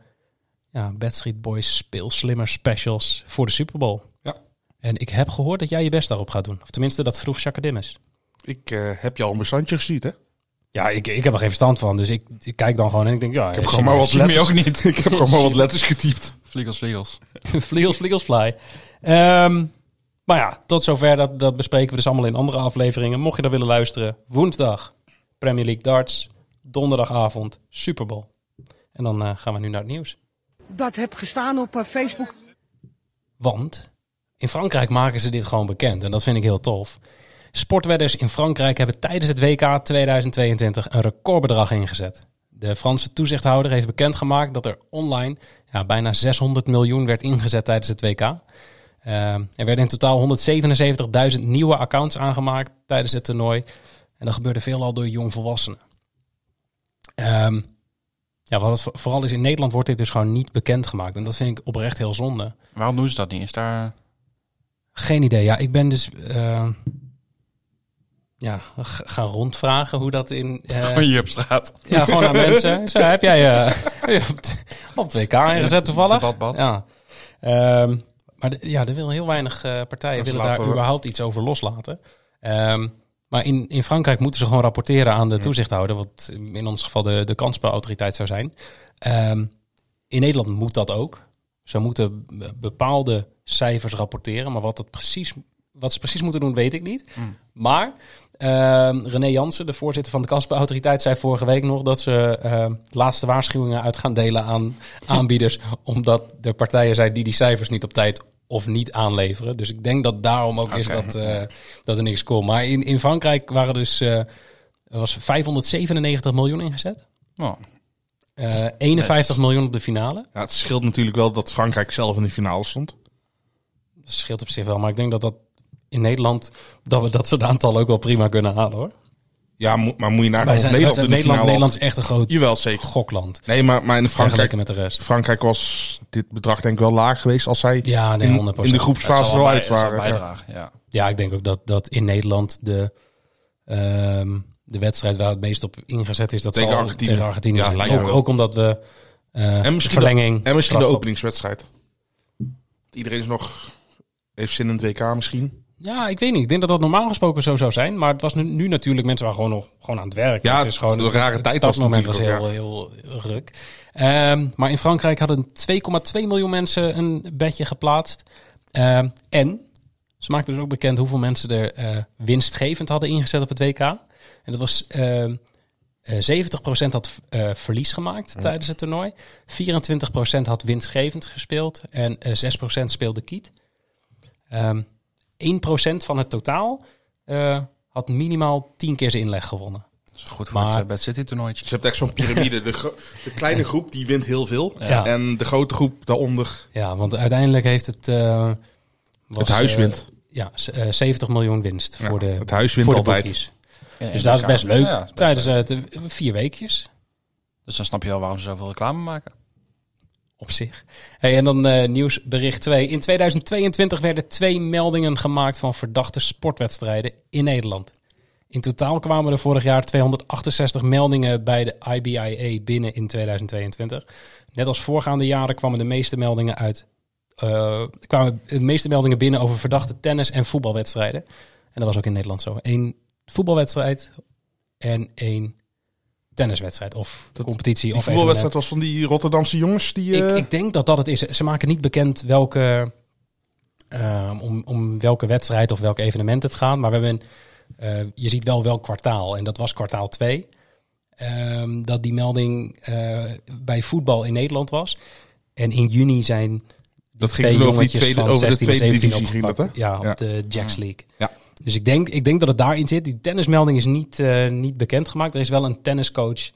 Speaker 6: ja, Bad Street Boys speelslimmer specials voor de Super Bowl.
Speaker 8: Ja.
Speaker 6: En ik heb gehoord dat jij je best daarop gaat doen. Of tenminste, dat vroeg Chacadimus.
Speaker 8: Ik eh, heb je al een bestandje gestuurd, hè? Ik
Speaker 6: Ja, ik, ik heb er geen verstand van. Dus ik, ik kijk dan gewoon en ik denk, ja, ik
Speaker 8: heb gewoon maar wat
Speaker 7: zie me
Speaker 8: letters.
Speaker 7: ook niet.
Speaker 8: Ik heb gewoon maar wat letters getypt.
Speaker 7: Vliegels, vliegels.
Speaker 6: Vliegels, vliegels, fly. Ehm, maar ja, tot zover. Dat, dat bespreken we dus allemaal in andere afleveringen. Mocht je dat willen luisteren, woensdag Premier League darts. Donderdagavond Super Bowl. En dan eh, gaan we nu naar het nieuws.
Speaker 9: dat heb gestaan op eh, Facebook.
Speaker 6: Want in Frankrijk maken ze dit gewoon bekend. En dat vind ik heel tof. Sportwedders in Frankrijk hebben tijdens het WK 2022 een recordbedrag ingezet. De Franse toezichthouder heeft bekendgemaakt dat er online ja, bijna 600 miljoen werd ingezet tijdens het WK. Ehm, er werden in totaal 177.000 nieuwe accounts aangemaakt tijdens het toernooi. En dat gebeurde veelal door jongvolwassenen. Ehm ja, wat het vo- vooral is, in Nederland wordt dit dus gewoon niet bekendgemaakt. En dat vind ik oprecht heel zonde.
Speaker 7: Waarom doen ze dat niet? Is daar... eh,
Speaker 6: Geen idee. Ja, ik ben dus eh, ja, g- gaan rondvragen hoe dat in. eh,
Speaker 7: Gewoon hier op straat.
Speaker 6: ja, gewoon aan mensen. Zo, heb jij eh, op t- op 2K ingezet toevallig?
Speaker 7: De badbad.
Speaker 6: Ja. Ehm, maar d- ja, er willen heel weinig eh, partijen
Speaker 8: Dat
Speaker 6: willen
Speaker 8: laten
Speaker 6: daar
Speaker 8: we-
Speaker 6: überhaupt iets over loslaten. Ehm, maar in, in Frankrijk moeten ze gewoon rapporteren aan de toezichthouder, wat in ons geval de, de kansspelautoriteit zou zijn. Ehm, in Nederland moet dat ook. Ze moeten be- bepaalde cijfers rapporteren, maar wat, dat precies, wat ze precies moeten doen, weet ik niet. Maar ehm, René Jansen, de voorzitter van de kansspelautoriteit, zei vorige week nog dat ze ehm, laatste waarschuwingen uit gaan delen aan aanbieders, omdat er partijen zijn die die cijfers niet op tijd of niet aanleveren. Dus ik denk dat daarom ook is
Speaker 7: Oké.
Speaker 6: dat, eh, dat er niks komt. Maar in, in Frankrijk waren dus, eh, er was 597 miljoen ingezet.
Speaker 7: Nou,
Speaker 6: Eh, 51 miljoen op de finale.
Speaker 8: Ja, het scheelt natuurlijk wel dat Frankrijk zelf in de finale stond.
Speaker 6: Dat scheelt op zich wel. Maar ik denk dat dat in Nederland, dat we dat soort aantallen ook wel prima kunnen halen hoor.
Speaker 8: Ja, mo- maar moet je nagaan
Speaker 6: Wij
Speaker 8: of
Speaker 6: zijn,
Speaker 8: Nederland
Speaker 6: wij
Speaker 8: in
Speaker 6: zijn
Speaker 8: de
Speaker 6: Nederland,
Speaker 8: finale
Speaker 6: Nederland is echt een groot
Speaker 8: had? Jawel, zeker.
Speaker 6: gokland.
Speaker 8: Nee, maar, maar in Frankrijk,
Speaker 6: Vergeleken met de rest.
Speaker 8: Frankrijk was dit bedrag denk ik wel laag geweest als zij
Speaker 6: Ja, nee,
Speaker 8: in-
Speaker 6: 100%.
Speaker 8: in, de groepsfase wel uit waren. Ja.
Speaker 7: bijdragen, ja.
Speaker 6: Ja, ik denk ook dat, dat in Nederland de, ehm, de wedstrijd waar het meest op ingezet is, dat
Speaker 8: Tegen
Speaker 6: zal
Speaker 8: Argentinië.
Speaker 6: tegen Argentinië
Speaker 8: Ja,
Speaker 6: zijn.
Speaker 8: lijkt me
Speaker 6: Ook,
Speaker 8: wel.
Speaker 6: ook omdat we eh,
Speaker 8: En misschien
Speaker 6: verlenging...
Speaker 8: En misschien de
Speaker 6: strafschop-
Speaker 8: openingswedstrijd. Iedereen is nog, heeft zin in het WK misschien.
Speaker 6: Ja, ik weet niet. Ik denk dat dat normaal gesproken zo zou zijn. Maar het was nu, nu natuurlijk, mensen waren gewoon nog gewoon aan het werk.
Speaker 8: Ja,
Speaker 6: het is gewoon
Speaker 8: het- een rare tijd was
Speaker 6: startmoment was
Speaker 8: natuurlijk
Speaker 6: heel,
Speaker 8: ook,
Speaker 6: heel ruk. Ehm, maar in Frankrijk hadden 2,2 miljoen mensen een bedje geplaatst. Ehm, en ze maakten dus ook bekend hoeveel mensen er eh, winstgevend hadden ingezet op het WK. En dat was ehm, eh, 70% had eh, verlies gemaakt tijdens het toernooi. 24% had winstgevend gespeeld. En eh, 6% speelde kiet. Ehm 1% van het totaal eh, had minimaal 10 keer zijn inleg gewonnen.
Speaker 7: Dat is goed voor
Speaker 6: Maar-
Speaker 7: het eh, Bad City toernooitje.
Speaker 8: Dus je hebt echt zo'n piramide. De, gro- de kleine groep die wint heel veel.
Speaker 6: Ja.
Speaker 8: En de grote groep daaronder.
Speaker 6: Ja, want uiteindelijk heeft het eh, was,
Speaker 8: het huis
Speaker 6: eh,
Speaker 8: wint.
Speaker 6: ja, s- eh, 70 miljoen winst
Speaker 8: Ja,
Speaker 6: voor de
Speaker 8: het huis wint
Speaker 6: voor de
Speaker 8: altijd.
Speaker 6: boekies.
Speaker 7: In
Speaker 6: Dus
Speaker 7: de
Speaker 6: dat is
Speaker 7: NK.
Speaker 6: best leuk.
Speaker 7: Ja, is best
Speaker 6: Tijdens
Speaker 7: leuk.
Speaker 6: eh, de- vier weekjes
Speaker 7: Dus dan snap je wel waarom ze zoveel reclame maken.
Speaker 6: op zich. Hey, en dan eh, nieuwsbericht 2. In 2022 werden twee meldingen gemaakt van verdachte sportwedstrijden in Nederland. In totaal kwamen er vorig jaar 268 meldingen bij de IBIA E binnen in 2022. Net als voorgaande jaren kwamen de meeste meldingen uit. eh, kwamen de meeste meldingen binnen over verdachte tennis- en voetbalwedstrijden. En dat was ook in Nederland zo. Eén voetbalwedstrijd en één tenniswedstrijd of competitie.
Speaker 8: Die
Speaker 6: of evenement.
Speaker 8: voetbalwedstrijd was van die Rotterdamse jongens. Die,
Speaker 6: Ik,
Speaker 8: eh,
Speaker 6: ik denk dat dat het is. Ze maken niet bekend welke, ehm, om, om welke wedstrijd of welk evenement het gaat. Maar we hebben, eh, je ziet wel welk kwartaal. En dat was kwartaal 2. dat die melding eh, bij voetbal in Nederland was. En in juni zijn
Speaker 8: dat
Speaker 6: twee
Speaker 8: ging over, die
Speaker 6: jongetjes
Speaker 8: tweede,
Speaker 6: van
Speaker 8: over de
Speaker 6: 16 en
Speaker 8: tweede
Speaker 6: 17
Speaker 8: divisie. ging
Speaker 6: opgepakt.
Speaker 8: dat, hè?
Speaker 6: Ja, op
Speaker 8: Ja. Mm.
Speaker 6: de Jacks League.
Speaker 8: Ja.
Speaker 6: Dus ik denk, ik denk dat het daarin zit. Die tennismelding is niet, eh niet bekendgemaakt. Er is wel een tenniscoach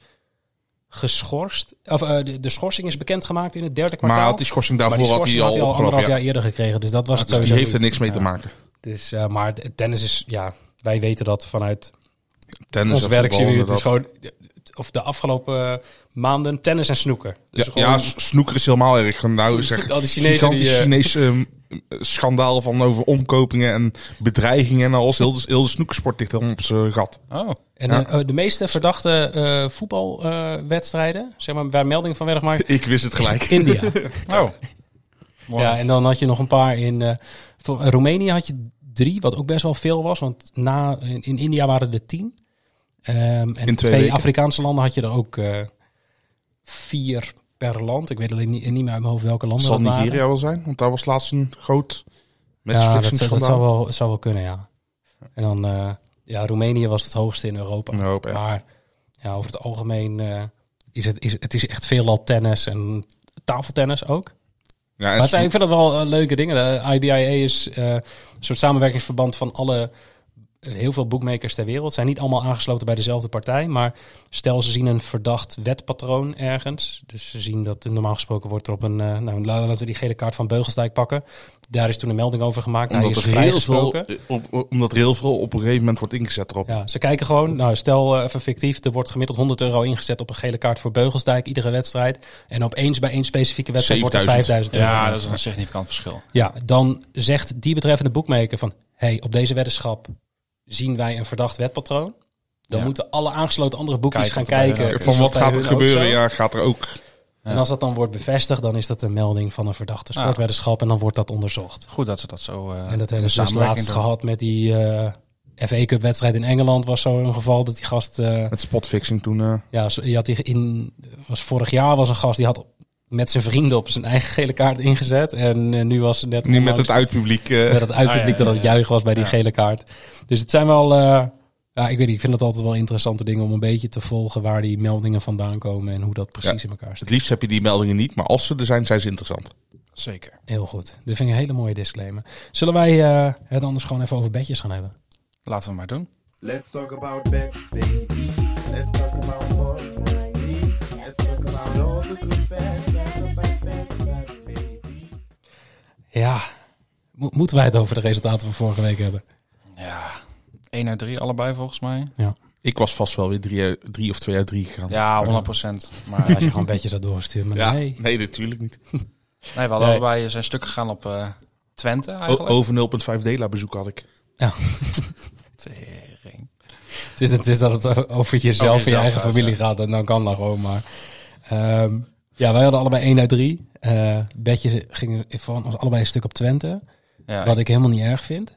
Speaker 6: geschorst. Of eh, de, de schorsing is bekendgemaakt in het derde kwartaal.
Speaker 8: Maar had die schorsing daarvoor
Speaker 6: Maar die
Speaker 8: had hij
Speaker 6: schorsing
Speaker 8: al opgelopen.
Speaker 6: anderhalf
Speaker 8: Ja.
Speaker 6: jaar eerder gekregen. Dus dat was het
Speaker 8: Dus die
Speaker 6: sowieso
Speaker 8: heeft er
Speaker 6: niet.
Speaker 8: niks mee te
Speaker 6: Ja.
Speaker 8: maken.
Speaker 6: Dus, eh, maar t- tennis is, ja, wij weten dat vanuit
Speaker 8: Tennis
Speaker 6: ons
Speaker 8: en
Speaker 6: werk zien
Speaker 8: voetbal,
Speaker 6: we het is
Speaker 8: inderdaad.
Speaker 6: gewoon, of de afgelopen eh, maanden, tennis en snoeker. Dus
Speaker 8: Ja,
Speaker 6: gewoon-
Speaker 8: ja, s- snoeker is helemaal erg. Nou, zeg,
Speaker 6: Al die Chinezen
Speaker 8: gigantisch
Speaker 6: die, eh,
Speaker 8: Chinese ehm, schandaal van over omkopingen en bedreigingen en alles. Heel de, heel de snoekersport ligt helemaal op zijn gat.
Speaker 7: Oh,
Speaker 6: en
Speaker 8: ja.
Speaker 6: eh, eh, de meeste verdachte eh, voetbalwedstrijden, eh, zeg maar, waar melding van werden gemaakt,
Speaker 8: Ik wist het gelijk.
Speaker 6: India.
Speaker 7: oh. Mooi.
Speaker 6: Ja, en dan had je nog een paar in eh, voor- eh, Roemenië had je drie, wat ook best wel veel was. Want na, in, in India waren er tien. Ehm, en
Speaker 8: twee
Speaker 6: in twee,
Speaker 8: weken.
Speaker 6: Afrikaanse landen had je er ook eh, vier per land. Ik weet alleen niet, niet meer uit mijn hoofd welke landen
Speaker 8: zal
Speaker 6: dat waren.
Speaker 8: Nigeria wel zijn, want daar was laatst een groot
Speaker 6: Ja, dat, dat zou,
Speaker 8: Netflix-schandaal.
Speaker 6: wel, zou wel kunnen, ja. En dan, eh, ja, Roemenië was het hoogste in Europa.
Speaker 8: In Europa, ja.
Speaker 6: Maar ja, over het algemeen eh, is het, is, het is echt veelal tennis en tafeltennis ook.
Speaker 8: Ja, en
Speaker 6: Maar het zijn- ik vind dat wel eh, leuke dingen. De IBIA is eh, een soort samenwerkingsverband van alle eh, heel veel boekmakers ter wereld. Zijn niet allemaal aangesloten bij dezelfde partij. Maar stel ze zien een verdacht wetpatroon ergens. Dus ze zien dat eh, normaal gesproken wordt er op een... eh, nou, la- laten we die gele kaart van Beugelstijk pakken. Daar is toen een melding over gemaakt. Hij
Speaker 8: omdat
Speaker 6: is
Speaker 8: er, heel veel,
Speaker 6: vrijgesproken.
Speaker 8: eh, op, op- omdat er heel veel op een gegeven moment wordt ingezet erop.
Speaker 6: Ja, ze kijken gewoon, nou stel eh, even fictief, er wordt gemiddeld 100 euro ingezet op een gele kaart voor Beugelsdijk, iedere wedstrijd. En opeens bij één specifieke wedstrijd wordt er 5000
Speaker 8: 7000.
Speaker 6: euro.
Speaker 7: Ja, dat is een significant verschil.
Speaker 6: Ja, dan zegt die betreffende boekmaker van... hey, op deze weddenschap zien wij een verdacht wetpatroon. Dan
Speaker 7: Ja.
Speaker 6: moeten alle aangesloten andere boekjes
Speaker 7: Kijk of dat
Speaker 6: gaan
Speaker 7: bij hun
Speaker 6: kijken.
Speaker 7: ook is.
Speaker 8: Van
Speaker 6: Is
Speaker 8: wat
Speaker 6: dat
Speaker 8: gaat
Speaker 6: bij
Speaker 8: er
Speaker 6: hun ook
Speaker 8: gebeuren?
Speaker 6: zo?
Speaker 8: Ja, gaat er ook.
Speaker 6: En als dat dan wordt bevestigd, dan is dat een melding van een verdachte
Speaker 7: Ja.
Speaker 6: sportweddenschap. En dan wordt dat onderzocht.
Speaker 7: Goed dat ze dat zo... eh,
Speaker 6: en
Speaker 7: in
Speaker 6: dat hebben ze dus
Speaker 7: samenwerking
Speaker 6: laatst
Speaker 7: doen.
Speaker 6: gehad met die eh, FA Cup wedstrijd in Engeland. Was zo een geval dat die gast... eh,
Speaker 8: Met spotfixing toen. eh,
Speaker 6: ja, zo- je had die in, was vorig jaar was een gast die had met zijn vrienden op zijn eigen gele kaart ingezet. En eh, nu was ze net...
Speaker 8: niet met
Speaker 6: onlangs-
Speaker 8: het uitpubliek. eh,
Speaker 6: Met dat uitpubliek
Speaker 7: Ah, ja, ja,
Speaker 6: dat het
Speaker 7: ja.
Speaker 6: juichen was bij die
Speaker 7: Ja.
Speaker 6: gele kaart. Dus het zijn wel... eh, ja, ik weet niet, ik vind het altijd wel interessante dingen om een beetje te volgen waar die meldingen vandaan komen en hoe dat precies in elkaar
Speaker 8: het
Speaker 6: zit.
Speaker 8: liefst heb je die meldingen niet, maar als ze er zijn, zijn ze interessant.
Speaker 7: Zeker.
Speaker 6: Heel goed. Dit vind ik een hele mooie disclaimer. Zullen wij eh, het anders gewoon even over bedjes gaan hebben?
Speaker 7: Laten we maar doen.
Speaker 10: Let's talk about bets, baby. Let's talk about ball, baby. Let's talk about all the good bets and the bad bets, baby.
Speaker 6: Ja. Mo- moeten wij het over de resultaten van vorige week hebben?
Speaker 7: Ja, 1 uit 3 allebei volgens mij.
Speaker 8: Ik was vast wel weer drie, uit- drie of twee uit drie gegaan.
Speaker 7: Ja, 100 procent. Maar eh,
Speaker 6: Als je gewoon bedjes had doorgestuurd. Maar
Speaker 8: Ja,
Speaker 6: nee.
Speaker 8: nee, natuurlijk niet.
Speaker 7: nee, we hadden
Speaker 6: Nee.
Speaker 7: allebei zijn stuk gegaan op eh, Twente
Speaker 8: O-
Speaker 7: eigenlijk.
Speaker 8: over 0,5 dela bezoek had
Speaker 7: Oh
Speaker 8: ik.
Speaker 7: Tering.
Speaker 6: Het is, het is dat het o- over jezelf
Speaker 7: Over jezelf
Speaker 6: en je eigen
Speaker 7: gaat,
Speaker 6: familie
Speaker 7: ja.
Speaker 6: gaat. En dan kan dat gewoon maar. Ehm, ja, wij hadden allebei 1 uit 3. Eh bedjes gingen van ons allebei een stuk op Twente.
Speaker 7: Ja,
Speaker 6: Wat ik helemaal niet erg vind.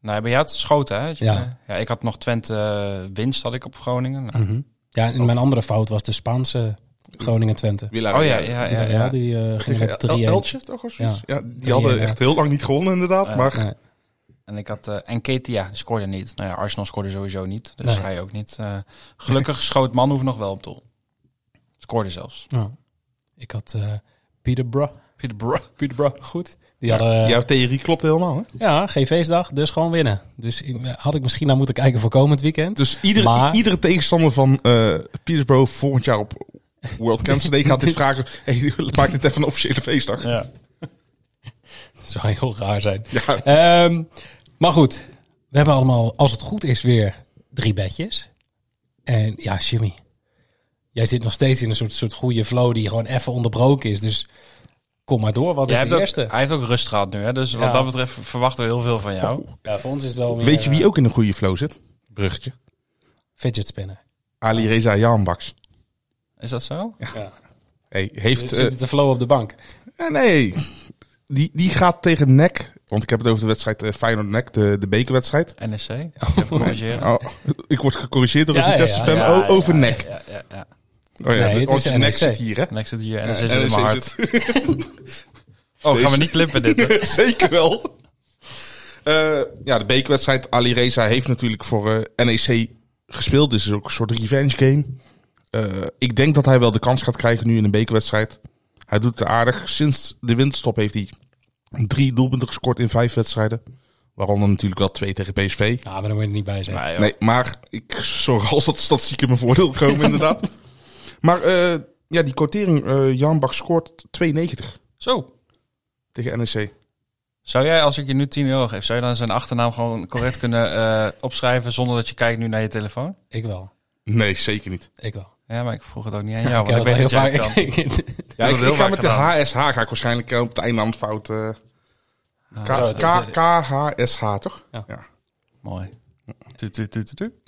Speaker 7: nou, bij jou had het schoten, hè? Ja.
Speaker 6: Ja.
Speaker 7: ja. Ik had nog Twente eh, winst had ik op Groningen. Nou,
Speaker 6: Ja, en mijn andere fout was de Spaanse Groningen-Twente.
Speaker 8: Villarreal.
Speaker 7: Oh ja, ja, ja. ja,
Speaker 6: Ja, die eh, gingen
Speaker 8: Tegen
Speaker 6: met 3-1.
Speaker 8: El- Elche toch? Of zoiets? Ja, die hadden
Speaker 6: ja.
Speaker 8: echt heel lang niet gewonnen inderdaad.
Speaker 7: Ja.
Speaker 8: maar
Speaker 6: Nee.
Speaker 7: En ik had eh Enketia, die scoorde niet. Nou ja, Arsenal scoorde sowieso niet. Dus
Speaker 6: Nee.
Speaker 7: hij ook niet. eh, gelukkig schoot Manhoef nog wel op doel. Scoorde zelfs.
Speaker 6: Ja. Ik had eh Peterborough.
Speaker 7: Peter Bro.
Speaker 6: Peterborough, goed. Die hadden, eh,
Speaker 8: jouw theorie klopt helemaal. Hè?
Speaker 6: ja, geen feestdag, dus gewoon winnen. Dus ik- had ik misschien naar moeten kijken voor komend weekend.
Speaker 8: Dus ieder,
Speaker 6: Maar-
Speaker 8: iedere tegenstander van eh Peterborough volgend jaar op World Cancer Day gaat dit vragen. Hey, maak dit even een officiële feestdag.
Speaker 7: Ja.
Speaker 6: Dat zou heel raar zijn.
Speaker 8: Ja.
Speaker 6: Ehm, maar goed, we hebben allemaal, als het goed is, weer drie bedjes. En ja, Jimmy, jij zit nog steeds in een soort, soort goede flow die gewoon even onderbroken is. Dus kom maar door, wat
Speaker 7: Jij
Speaker 6: is
Speaker 7: hebt
Speaker 6: de
Speaker 7: ook-
Speaker 6: eerste?
Speaker 7: hij heeft ook rust gehad nu, hè? dus
Speaker 6: Ja.
Speaker 7: wat dat betreft verwachten we heel veel van jou.
Speaker 6: Ja, voor ons is het wel meer,
Speaker 8: Weet je
Speaker 6: eh,
Speaker 8: wie ook in een goede flow zit? Bruggetje.
Speaker 6: Fidget spinner.
Speaker 8: Ali Reza Jaanbaks.
Speaker 7: Is dat zo?
Speaker 8: Hey,
Speaker 6: Zit
Speaker 8: heeft, eh,
Speaker 6: zit te flow op de bank.
Speaker 8: Eh, nee, die, die gaat tegen NEC. Want ik heb het over de wedstrijd eh, Feyenoord-NEC, de, de bekerwedstrijd.
Speaker 7: NSC? Even corrigeren.
Speaker 8: Oh, ik word gecorrigeerd door
Speaker 6: Ja,
Speaker 8: een
Speaker 6: ja, ja.
Speaker 8: Vitesse-fan
Speaker 7: Ja,
Speaker 8: o-
Speaker 7: ja,
Speaker 8: Oh, over
Speaker 7: ja,
Speaker 8: NEC.
Speaker 7: Ja, ja, ja.
Speaker 8: Oh ja,
Speaker 6: Nee, het
Speaker 8: want
Speaker 6: is
Speaker 8: je NEC
Speaker 6: NEC.
Speaker 8: zit hier, hè?
Speaker 7: En ik zit hier en
Speaker 8: Ja,
Speaker 7: dan zit
Speaker 8: NEC
Speaker 7: in mijn hart.
Speaker 8: zit-
Speaker 7: Oh, gaan
Speaker 8: Deze.
Speaker 7: we niet klippen dit. hè?
Speaker 8: Dus- Zeker wel. Eh, ja, de bekerwedstrijd. Ali Reza heeft natuurlijk voor eh, NEC gespeeld. Dus het is ook een soort revenge game. Eh, ik denk dat hij wel de kans gaat krijgen nu in een bekerwedstrijd. Hij doet het aardig. Sinds de winterstop heeft hij drie doelpunten gescoord in vijf wedstrijden. Waaronder natuurlijk wel twee tegen PSV.
Speaker 6: Ja, maar daar moet je niet bij zijn.
Speaker 7: Nee, joh.
Speaker 8: Nee, maar ik zorg als dat de statistieken in mijn voordeel komen inderdaad. Maar eh, ja, die quotering. eh Jan Bach scoort 92
Speaker 7: Zo.
Speaker 8: tegen E NEC.
Speaker 7: Zou jij, als ik je nu 10 euro geef, zou je dan zijn achternaam gewoon correct kunnen eh, opschrijven zonder dat je kijkt nu naar je telefoon?
Speaker 6: Ik wel.
Speaker 8: Nee, zeker niet.
Speaker 6: Ik wel.
Speaker 7: Ja, maar ik vroeg het ook niet aan jou,
Speaker 6: heb
Speaker 7: want ik weet dat
Speaker 6: dat
Speaker 7: jij het
Speaker 6: heel
Speaker 7: kan.
Speaker 6: vaak- ik-
Speaker 8: Ja,
Speaker 7: Dat
Speaker 8: ik,
Speaker 7: is heel
Speaker 8: ik ga
Speaker 7: vaak
Speaker 8: met de
Speaker 7: gedaan.
Speaker 8: HSH ga ik waarschijnlijk eh, op het einde handfout. eh, K-
Speaker 6: zo, dat-
Speaker 8: K- KHSH toch?
Speaker 7: Mooi. Tu, tu, tu, tu, tu.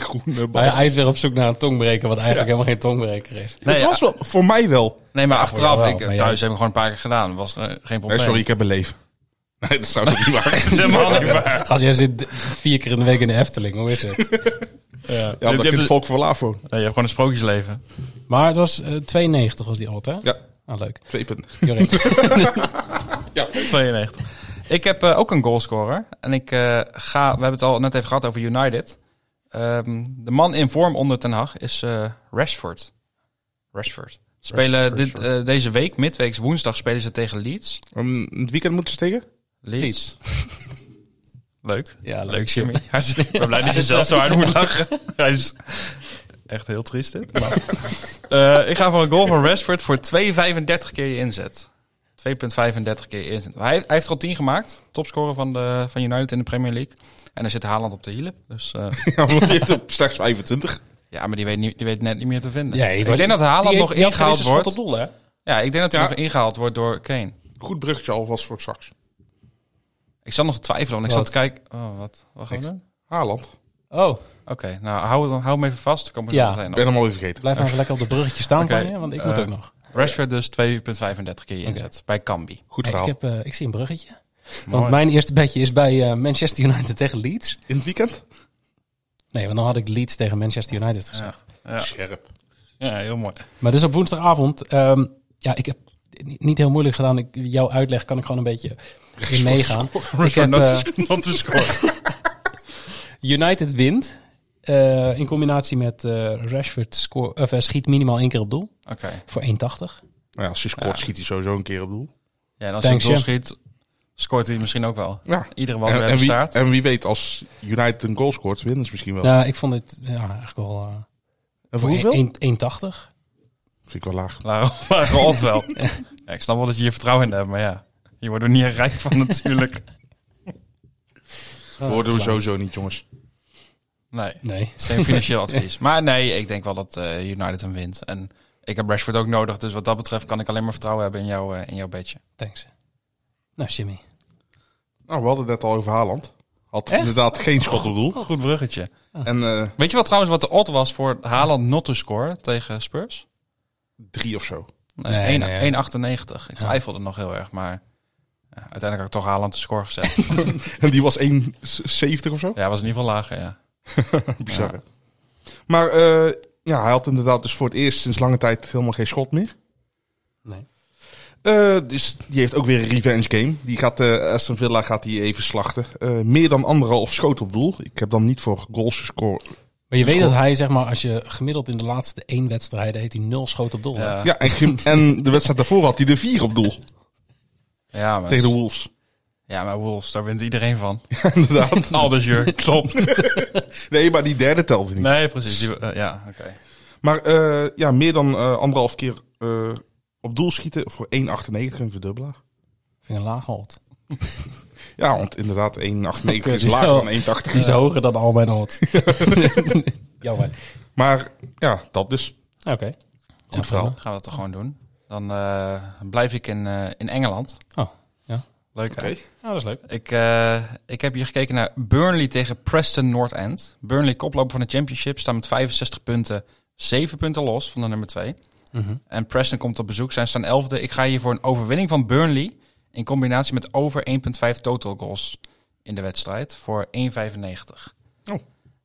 Speaker 8: Groene bal.
Speaker 6: Maar Nou hij is weer op zoek naar een tongbreker, wat eigenlijk helemaal geen tongbreker is.
Speaker 7: Nee,
Speaker 8: het was
Speaker 7: ja,
Speaker 8: wel, voor mij wel.
Speaker 7: nee, maar achteraf,
Speaker 6: jou wel,
Speaker 7: ik,
Speaker 6: maar
Speaker 7: thuis
Speaker 6: jij-
Speaker 7: heb ik gewoon een paar keer gedaan. Was eh, geen probleem.
Speaker 8: Nee, sorry, ik heb een leven. Nee, dat zou toch niet waar
Speaker 7: Het is helemaal niet waar.
Speaker 6: Als jij zit vier keer in de week in de Efteling, hoe is het?
Speaker 8: Ja,
Speaker 7: hebt
Speaker 8: dat kind
Speaker 7: dus-
Speaker 8: volk voor Lavo.
Speaker 7: Nee, je hebt gewoon een sprookjesleven.
Speaker 6: Maar het was eh, 92 was die alt, hè?
Speaker 8: Ja,
Speaker 6: Ah, leuk.
Speaker 8: twee punten.
Speaker 6: Jorik.
Speaker 8: Ja.
Speaker 7: 92. Ik heb eh, ook een goalscorer. En ik eh, ga, we hebben het al net even gehad over United. Ehm, de man in vorm onder Ten Hag is eh, Rashford. Rashford. Spelen Dit, eh, deze week, midweeks woensdag, spelen ze tegen Leeds.
Speaker 8: Um, het weekend moeten ze tegen?
Speaker 7: Leeds. leuk.
Speaker 6: Ja, leuk.
Speaker 7: Leuk, Jimmy. Hij is- Ik ben blij dat je zelf zo hard moet lachen. Hij is echt heel triest dit. Maar, Eh, ik ga voor een goal van Rashford voor 2,35 keer je inzet. 2,35 keer je inzet. Hij, hij heeft er al 10 gemaakt. Topscorer van, de, van United in de Premier League. En daar zit Haaland op de hielen. Dus, eh,
Speaker 8: Ja, want die heeft op slechts 25.
Speaker 7: ja, maar die weet, niet, die weet net niet meer te vinden.
Speaker 6: Ja,
Speaker 7: ik denk dat Haaland nog ingehaald wordt.
Speaker 6: doel, hè?
Speaker 7: Ja, ik denk dat hij
Speaker 8: Ja.
Speaker 7: nog ingehaald wordt door Kane.
Speaker 8: Goed bruggetje alvast voor straks.
Speaker 7: Ik zat nog te twijfelen, want ik zat
Speaker 6: Wat?
Speaker 7: te kijken... Oh, wat? Wat gaan we
Speaker 8: Niks.
Speaker 7: doen?
Speaker 8: Haaland.
Speaker 6: Oh,
Speaker 7: Oké, nou, hou, hou hem even vast. Ik kom er zo
Speaker 6: Ja.
Speaker 7: meteen op.
Speaker 8: Ik ben hem alweer vergeten.
Speaker 6: blijf maar even lekker op de bruggetje staan
Speaker 7: Oké,
Speaker 6: van je, want ik moet
Speaker 7: eh,
Speaker 6: ook nog.
Speaker 7: Rashford dus 2,35 keer je inzet bij Cambi.
Speaker 8: Goed
Speaker 6: Hey, ik,
Speaker 8: verhaal.
Speaker 6: heb, eh, ik zie een bruggetje. Want
Speaker 7: Mooi.
Speaker 6: mijn eerste bedje is bij eh, Manchester United tegen Leeds.
Speaker 8: In het weekend?
Speaker 6: Nee, want dan had ik Leeds tegen Manchester United gezegd.
Speaker 7: Ja.
Speaker 8: Scherp.
Speaker 7: Ja, heel mooi.
Speaker 6: Maar dus op woensdagavond, ehm, ja, ik heb het niet heel moeilijk gedaan. Ik, jouw uitleg kan ik gewoon een beetje in meegaan. Ik heb, eh,
Speaker 7: not to score.
Speaker 6: United wint eh, in combinatie met eh, Rashford score, of, eh, schiet minimaal één keer op doel
Speaker 7: Oké.
Speaker 6: voor 1,80.
Speaker 7: Oh.
Speaker 8: Nou ja, als je scoort schiet hij sowieso een keer op doel.
Speaker 7: Ja, en als hij
Speaker 6: Thanks,
Speaker 7: een goal
Speaker 6: Jim.
Speaker 7: schiet, scoort hij misschien ook wel.
Speaker 8: Ja.
Speaker 7: Iedere bal
Speaker 8: En,
Speaker 7: weer
Speaker 8: en, wie,
Speaker 7: staart.
Speaker 8: en wie weet, als United een goal scoort, winnen ze misschien wel.
Speaker 6: Ja, Nou, ik vond het ja, eigenlijk wel eh,
Speaker 8: en voor
Speaker 6: voor
Speaker 8: hoeveel?
Speaker 6: 1,80.
Speaker 8: Vind ik wel laag.
Speaker 7: Laro Laro wel. Ja, ik snap wel dat je je vertrouwen in hebt, maar ja. Je wordt er niet rijk van natuurlijk.
Speaker 8: Worden we sowieso niet, jongens.
Speaker 7: Nee,
Speaker 6: Nee.
Speaker 7: het is geen financieel advies. Maar nee, ik denk wel dat eh, United hem wint. En ik heb Rashford ook nodig, dus wat dat betreft kan ik alleen maar vertrouwen hebben in, jou, eh, in jouw bedje.
Speaker 6: Thanks. Nou, Jimmy.
Speaker 8: Nou, we hadden het net al over Haaland. Had
Speaker 6: Echt?
Speaker 8: inderdaad geen schot op doel.
Speaker 7: Goed bruggetje.
Speaker 8: En eh,
Speaker 7: Weet je wel trouwens wat de odd was voor Haaland not to score tegen Spurs?
Speaker 8: drie of zo.
Speaker 6: Nee,
Speaker 7: Nee,
Speaker 6: nee, ja.
Speaker 7: 1 1,98. Ik twijfelde nog heel erg, maar ja, uiteindelijk had ik toch Haaland te score gezet.
Speaker 8: En die was 1,70 of zo.
Speaker 7: ja, was in ieder geval lager, ja.
Speaker 8: Bizar. hè? Maar eh, ja, hij had inderdaad dus voor het eerst sinds lange tijd helemaal geen schot meer.
Speaker 6: Nee.
Speaker 8: Eh, dus die heeft ook weer een revenge game. Die gaat eh Aston Villa gaat die even slachten. Eh, meer dan anderhalf schoot op doel. Ik heb dan niet voor goals gescoord.
Speaker 6: Maar je weet
Speaker 8: Scoren.
Speaker 6: dat hij, zeg maar, als je gemiddeld in de laatste één wedstrijd, heeft hij nul schoot op doel. hè?
Speaker 7: Ja, ja.
Speaker 8: Ja, en, gem- en de wedstrijd daarvoor had hij er vier op doel.
Speaker 7: maar,
Speaker 8: Tegen de Wolves.
Speaker 7: ja, maar Wolves, daar wint iedereen van.
Speaker 8: inderdaad.
Speaker 7: Aldersjur, klopt.
Speaker 8: Nee, maar die derde telde niet.
Speaker 7: Nee, precies. Die- eh, ja, oké.
Speaker 8: Maar eh, ja, meer dan eh, anderhalf keer eh, op doel schieten voor 1,98 een verdubbelaar.
Speaker 6: Vind ik een laag alt.
Speaker 8: Ja, want inderdaad, 1,8 meter is
Speaker 6: Zo.
Speaker 8: lager dan 1,80.
Speaker 6: Die is hoger dan al mijn alt. Jammer.
Speaker 8: Maar ja, dat dus.
Speaker 6: Oké.
Speaker 8: Goed verhaal.
Speaker 7: Gaan we dat toch gewoon doen? Dan eh, blijf ik in, eh, in Engeland.
Speaker 6: Oh, ja.
Speaker 7: Leuk hè?
Speaker 6: Nou, dat is leuk.
Speaker 7: Ik, eh, ik heb hier gekeken naar Burnley tegen Preston North End. Burnley koploper van de championship, staat met 65 punten, 7 punten los van de nummer 2.
Speaker 8: Mhm.
Speaker 7: En Preston komt op bezoek, zij staan 11e. Ik ga hier voor een overwinning van Burnley in combinatie met over 1,5 total goals in de wedstrijd voor 1,95.
Speaker 8: Oh.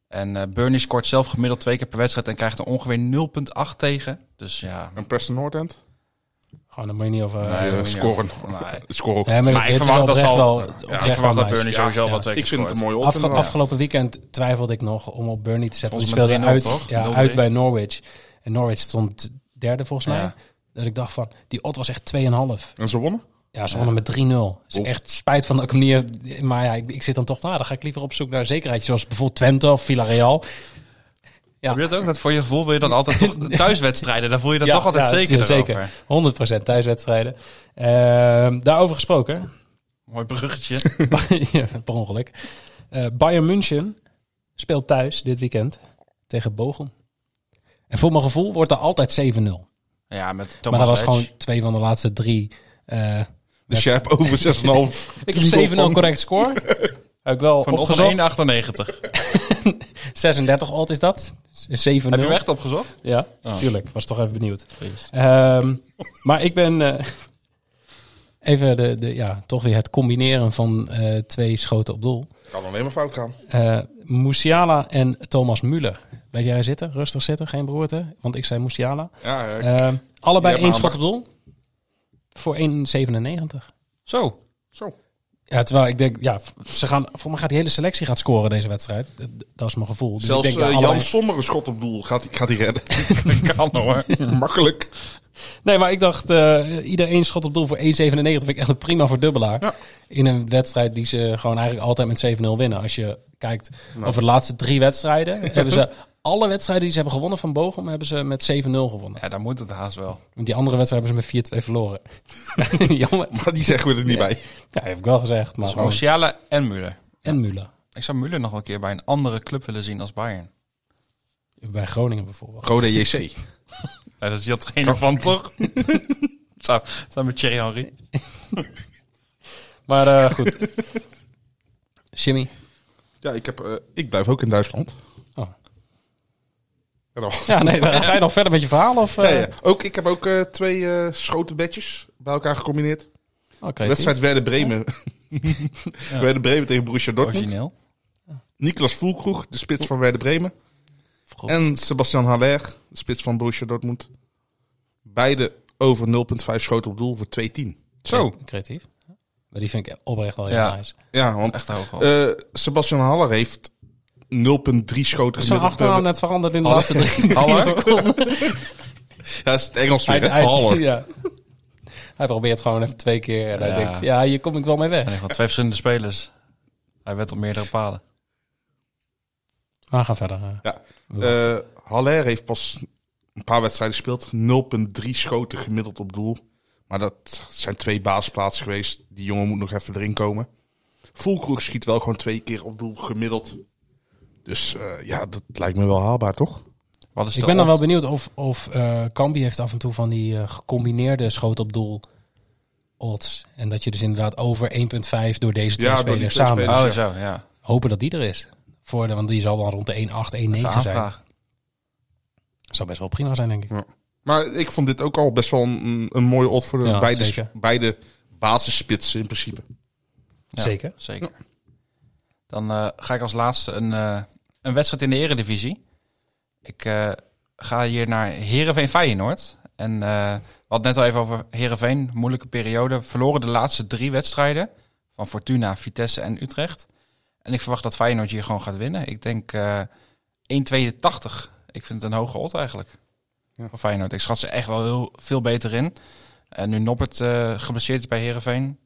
Speaker 7: En eh, Burnley scoort zelf gemiddeld twee keer per wedstrijd en krijgt er ongeveer 0,8 tegen. Dus ja,
Speaker 8: En Preston Noordend?
Speaker 6: Gewoon, dan moet je niet over...
Speaker 7: Nee, dat
Speaker 8: Eh
Speaker 7: moet je
Speaker 8: scoren.
Speaker 7: Nee.
Speaker 8: Scoren ook.
Speaker 6: Nee, maar,
Speaker 7: Maar ik
Speaker 6: dit is
Speaker 7: verwacht dat ze
Speaker 6: oprecht
Speaker 7: al-
Speaker 6: wel,
Speaker 7: ja,
Speaker 6: oprecht
Speaker 7: ik verwacht
Speaker 6: wel
Speaker 7: dat
Speaker 6: nice.
Speaker 7: Burnley sowieso
Speaker 8: Ja,
Speaker 7: wel
Speaker 8: ja.
Speaker 7: twee keer
Speaker 8: Ik vind het een
Speaker 7: scoort.
Speaker 8: mooie
Speaker 6: Afge-
Speaker 8: opgave.
Speaker 6: afgelopen weekend twijfelde ik nog om op Burnley te zetten. Want
Speaker 7: Volgens
Speaker 6: die
Speaker 7: mij
Speaker 6: speelde je uit,
Speaker 7: 3-0 toch?
Speaker 6: ja,
Speaker 7: 0-3.
Speaker 6: uit bij Norwich. En Norwich stond derde volgens mij.
Speaker 7: Ja.
Speaker 6: Dat ik dacht van, die odd was echt 2,5.
Speaker 8: En ze wonnen?
Speaker 6: Ja, ze wonnen met 3-0. Dus
Speaker 8: Oeh.
Speaker 6: echt spijt van dat ik hem niet heb. Maar ja, ik, ik zit dan toch na. Dan ga ik liever op zoek naar zekerheid. Zoals bijvoorbeeld Twente of Villarreal. Ja.
Speaker 7: Heb je dat ook? Dat voor je gevoel wil je dan altijd toch thuiswedstrijden. Daar voel je dat toch altijd
Speaker 6: ja,
Speaker 7: zeker,
Speaker 6: zeker. 100% thuiswedstrijden. Ehm, daarover gesproken.
Speaker 7: Mooi bruggetje.
Speaker 6: Ja, per ongeluk. Eh, Bayern München speelt thuis dit weekend tegen Bochum. En voor mijn gevoel wordt er altijd 7-0.
Speaker 7: Ja, met Thomas
Speaker 6: Maar dat was
Speaker 7: Ledge.
Speaker 6: gewoon twee van de laatste drie. eh,
Speaker 8: Dus jij hebt over 6,5.
Speaker 6: ik heb 7-0 correct score. Heb ik wel
Speaker 7: Van
Speaker 6: opgezocht.
Speaker 7: Otten 1,98.
Speaker 6: 36 odd is dat. 7-0.
Speaker 7: Heb je hem echt opgezocht?
Speaker 6: Ja,
Speaker 8: Ah.
Speaker 7: Oh.
Speaker 6: tuurlijk. Was toch even benieuwd. Ehm, maar ik ben eh, even de, de, ja, toch weer het combineren van eh, twee schoten op doel.
Speaker 8: Kan alleen maar fout gaan.
Speaker 6: Eh Musiala en Thomas Müller. Blijf jij zitten, rustig zitten, geen beroerte. Want ik zei Musiala.
Speaker 8: Ja, eh,
Speaker 6: Eh, allebei
Speaker 8: hebt
Speaker 6: één schot
Speaker 8: aandacht.
Speaker 6: op doel. Voor 1,97.
Speaker 7: Zo.
Speaker 6: Ja, terwijl ik denk, ja, ze gaan, voor mij gaat die hele selectie gaat scoren deze wedstrijd. Dat, dat is mijn gevoel. Dus
Speaker 8: zelfs
Speaker 6: ik denk, ja,
Speaker 8: eh,
Speaker 6: allebei-
Speaker 8: Jan Sommer een schot op doel gaat, hij- gaat hij redden.
Speaker 7: Kan hoor.
Speaker 8: Makkelijk.
Speaker 6: Nee, maar ik dacht, eh ieder één schot op doel voor 1,97 vind ik echt een prima voor dubbelaar.
Speaker 8: Ja.
Speaker 6: In een wedstrijd die ze gewoon eigenlijk altijd met 7-0 winnen. Als je kijkt over de laatste drie wedstrijden, hebben ze alle wedstrijden die ze hebben gewonnen van Bochum, hebben ze met 7-0 gewonnen.
Speaker 7: Ja, dan moet het haast wel.
Speaker 6: Want die andere wedstrijd hebben ze met 4-2 verloren. Jammer.
Speaker 8: Maar die zeggen we er niet bij.
Speaker 6: Ja, heb ik wel gezegd. Maar
Speaker 7: Dus
Speaker 6: gewoon.
Speaker 7: Musiala en Müller.
Speaker 6: En Müller.
Speaker 7: Ik zou Müller nog wel een keer bij een andere club willen zien als Bayern.
Speaker 6: Bij Groningen bijvoorbeeld.
Speaker 8: Rode JC.
Speaker 7: Ja, dat is heel trainer van, toch? Samen met Thierry Henry.
Speaker 6: Maar eh, goed. Jimmy.
Speaker 8: Ja, ik, heb, eh, ik blijf ook in Duitsland.
Speaker 6: Oh.
Speaker 8: Ja, dan-
Speaker 6: Ja, nee, dan ga je nog verder met je verhaal? Of, eh
Speaker 8: Ja, ja. Ook, ik heb ook eh, twee eh, schoten bedjes bij elkaar gecombineerd.
Speaker 6: Oké.
Speaker 8: Wedstrijd Werder Bremen. Werder Bremen tegen Borussia Dortmund.
Speaker 7: Origineel.
Speaker 8: Niklas Voelkroeg, de spits van Werder Bremen.
Speaker 6: goed.
Speaker 8: En Sebastian Haller, de spits van Borussia Dortmund. Beide over 0,5 schoten op doel voor 2-10.
Speaker 7: Zo.
Speaker 6: Creatief. Maar die vind ik oprecht wel heel
Speaker 7: Ja.
Speaker 6: nice.
Speaker 8: Ja, want
Speaker 7: Echt hoog. al.
Speaker 8: eh, Sebastian Haller heeft 0,3 schoten
Speaker 6: Zijn
Speaker 8: gemiddeld. Eh,
Speaker 6: achternaam net veranderd in de laatste drie, drie
Speaker 7: Haller?
Speaker 6: seconden.
Speaker 8: Ja, dat is het Engels
Speaker 6: Hij,
Speaker 8: weer, hè?
Speaker 6: hij-
Speaker 8: Haller.
Speaker 6: ja. hij probeert gewoon even twee keer. En
Speaker 7: Ja.
Speaker 6: hij denkt, ja, hier kom ik wel mee weg.
Speaker 7: Nee, gewoon twee verschillende spelers. Hij werd op meerdere palen.
Speaker 6: Maar ga verder. eh.
Speaker 8: Ja. Eh, Haller heeft pas een paar wedstrijden gespeeld. 0,3 schoten gemiddeld op doel. Maar dat zijn twee baasplaatsen geweest. Die jongen moet nog even erin komen. Volkroeg schiet wel gewoon twee keer op doel gemiddeld. Dus eh, ja, dat lijkt me wel haalbaar, toch?
Speaker 7: Wat is
Speaker 6: Ik
Speaker 7: de
Speaker 6: ben dan wel
Speaker 7: odd?
Speaker 6: benieuwd of, of eh Kambi heeft af en toe van die eh, gecombineerde schoot op doel odds. En dat je dus inderdaad over 1,5 door deze twee
Speaker 8: Ja, door die
Speaker 6: spelers
Speaker 8: twee
Speaker 6: samen.
Speaker 8: spelers.
Speaker 7: Oh, zo, ja.
Speaker 6: Hopen dat die er is. Voor de, want die zal dan rond de 1,8, 1,9
Speaker 7: De
Speaker 6: zijn.
Speaker 7: aanvraag.
Speaker 6: Zou best wel prima zijn, denk ik.
Speaker 8: Maar ik vond dit ook al best wel een, een mooie odd voor de
Speaker 6: Ja,
Speaker 8: beide,
Speaker 6: zeker.
Speaker 8: beide basisspitsen in principe.
Speaker 7: Ja,
Speaker 6: Zeker.
Speaker 7: Zeker. Dan eh, ga ik als laatste een, eh, een wedstrijd in de eredivisie. Ik eh, ga hier naar Heerenveen Feyenoord. En eh, we hadden net al even over Heerenveen. Moeilijke periode. Verloren de laatste drie wedstrijden. Van Fortuna, Vitesse en Utrecht. En ik verwacht dat Feyenoord hier gewoon gaat winnen. Ik denk eh 1,82. Ik vind het een hoge odd eigenlijk. Van Feyenoord. Ik schat ze echt wel heel veel beter in. En nu Noppert eh, geblesseerd is bij Heerenveen.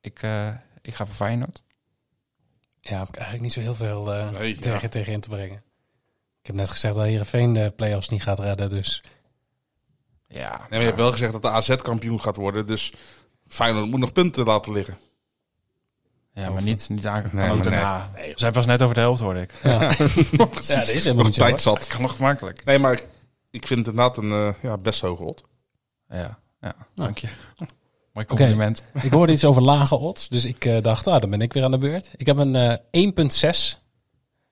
Speaker 7: Ik, eh, ik ga voor Feyenoord.
Speaker 6: Ja, heb ik eigenlijk niet zo heel veel eh,
Speaker 8: Nee, ja.
Speaker 6: tegen, tegen in te brengen. Ik heb net gezegd dat Heerenveen de play-offs niet gaat redden, dus...
Speaker 7: Ja.
Speaker 8: En je hebt wel gezegd dat de AZ kampioen gaat worden. Dus Feyenoord moet nog punten laten liggen.
Speaker 7: Ja, maar niet, niet aangekomen.
Speaker 8: Nee, maar nee.
Speaker 7: daarna. Nee, we zijn pas net over de helft, hoorde ik.
Speaker 6: Ja, dat is helemaal
Speaker 8: Nog
Speaker 6: niet zo, hoor.
Speaker 8: tijd zat.
Speaker 7: Dat kan nog makkelijk.
Speaker 8: Nee, maar ik, ik vind het inderdaad een eh, ja, best hoge odd.
Speaker 7: Ja, ja dank je. Mooi compliment.
Speaker 6: Ik hoorde iets over lage odds, dus ik eh, dacht, ah, dan ben ik weer aan de beurt. Ik heb een eh 1,6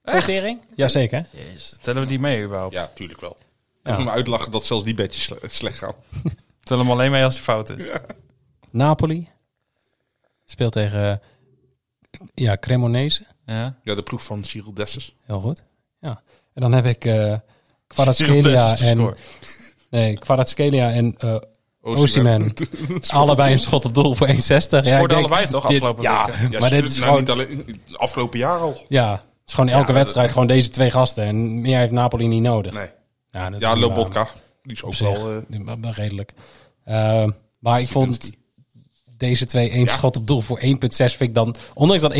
Speaker 6: quotering. Jazeker.
Speaker 7: Jezus, tellen we die mee überhaupt?
Speaker 8: Ja, tuurlijk wel.
Speaker 6: Ja.
Speaker 8: Ik moet me uitlachen dat zelfs die bedjes sle- slecht gaan.
Speaker 7: Tel hem alleen mee als hij fout is.
Speaker 6: Napoli speelt tegen eh, ja, Cremonese.
Speaker 7: Ja.
Speaker 8: Ja, de ploeg van Cyril Dessus.
Speaker 6: Heel goed. Ja. En dan heb ik eh
Speaker 7: Cyril
Speaker 6: Kvaratskhelia
Speaker 7: Dessers te
Speaker 6: en
Speaker 7: scoren.
Speaker 6: nee, Kvaratskhelia en eh
Speaker 8: Osimhen.
Speaker 6: Osimhen. Allebei een schot op doel voor 1,60. Ja, ik denk,
Speaker 7: Scoorden allebei toch
Speaker 6: dit-
Speaker 7: afgelopen
Speaker 6: ja,
Speaker 7: weken?
Speaker 8: Ja,
Speaker 6: maar dit
Speaker 8: tuurlijk,
Speaker 6: is
Speaker 8: nou,
Speaker 6: gewoon
Speaker 8: niet alleen, afgelopen jaar al.
Speaker 6: Ja, het is gewoon elke
Speaker 8: Ja,
Speaker 6: wedstrijd
Speaker 8: dat-
Speaker 6: gewoon deze twee gasten. En meer heeft Napoli niet nodig.
Speaker 8: Nee.
Speaker 6: Ja, dat
Speaker 8: Ja,
Speaker 6: is
Speaker 8: Lobotka. Die is ook
Speaker 6: Op zich,
Speaker 8: wel... eh,
Speaker 6: maar- maar redelijk. Eh, maar ik vond deze twee één
Speaker 8: Ja.
Speaker 6: schot op doel voor 1.6 vind ik dan... Ondanks dat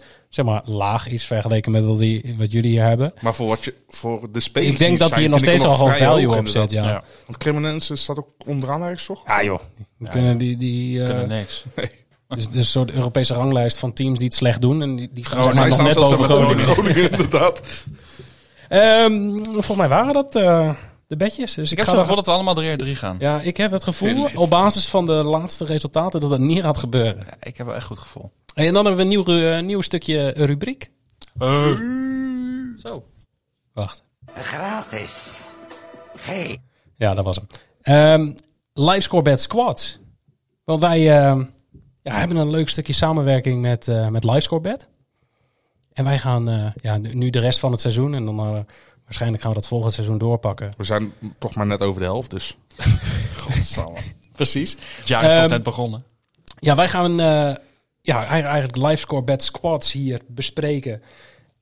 Speaker 6: 1.6 zeg maar laag is vergeleken met wat, die, wat jullie hier hebben.
Speaker 8: maar voor, wat je, voor de spelers
Speaker 6: Ik denk
Speaker 8: die
Speaker 6: dat
Speaker 8: zijn,
Speaker 6: hier nog
Speaker 8: vind ik
Speaker 6: steeds
Speaker 8: hem
Speaker 6: al gewoon
Speaker 8: vrij
Speaker 6: value
Speaker 8: hoog,
Speaker 6: op zit.
Speaker 8: inderdaad.
Speaker 6: Ja.
Speaker 7: Ja.
Speaker 8: Want Cremonense staat ook onderaan ergens, toch?
Speaker 6: Ja, joh. We kunnen die, die, eh,
Speaker 7: Kunnen niks.
Speaker 6: dus, dus een soort Europese ranglijst van teams die het slecht doen. En die, die gaan
Speaker 7: Groningen.
Speaker 6: zeg maar
Speaker 8: Zij
Speaker 6: nog
Speaker 8: staan
Speaker 6: net
Speaker 8: zelfs
Speaker 6: boven
Speaker 8: met Groningen,
Speaker 6: Groningen.
Speaker 8: Groningen, inderdaad.
Speaker 6: Ehm, volgens mij waren dat eh, de bedjes. Dus
Speaker 7: Ik
Speaker 6: ik,
Speaker 7: heb
Speaker 6: ga
Speaker 7: zo'n
Speaker 6: nog-
Speaker 7: gevoel dat we allemaal 3 uit 3 gaan.
Speaker 6: Ja, ik heb het gevoel op basis van de laatste resultaten dat dat niet gaat gebeuren.
Speaker 7: Ik heb wel echt goed gevoel.
Speaker 6: En dan hebben we een nieuw, ru- eh, nieuw stukje eh, rubriek.
Speaker 7: Zo.
Speaker 6: Wacht.
Speaker 9: Gratis. Hey.
Speaker 6: Ja, dat was hem. Ehm Livescore Bad Squads. Want wij ehm, ja, hebben een leuk stukje samenwerking met, eh met Livescore Bad. En wij gaan eh, ja, nu nu de rest van het seizoen en dan eh, waarschijnlijk gaan we dat volgend seizoen doorpakken.
Speaker 8: We zijn toch maar net over de helft, dus...
Speaker 6: Precies.
Speaker 7: Het jaar is pas
Speaker 6: Ehm,
Speaker 7: net begonnen.
Speaker 6: Ja, wij gaan eh ja, eigen- eigenlijk livescore bed squads hier bespreken.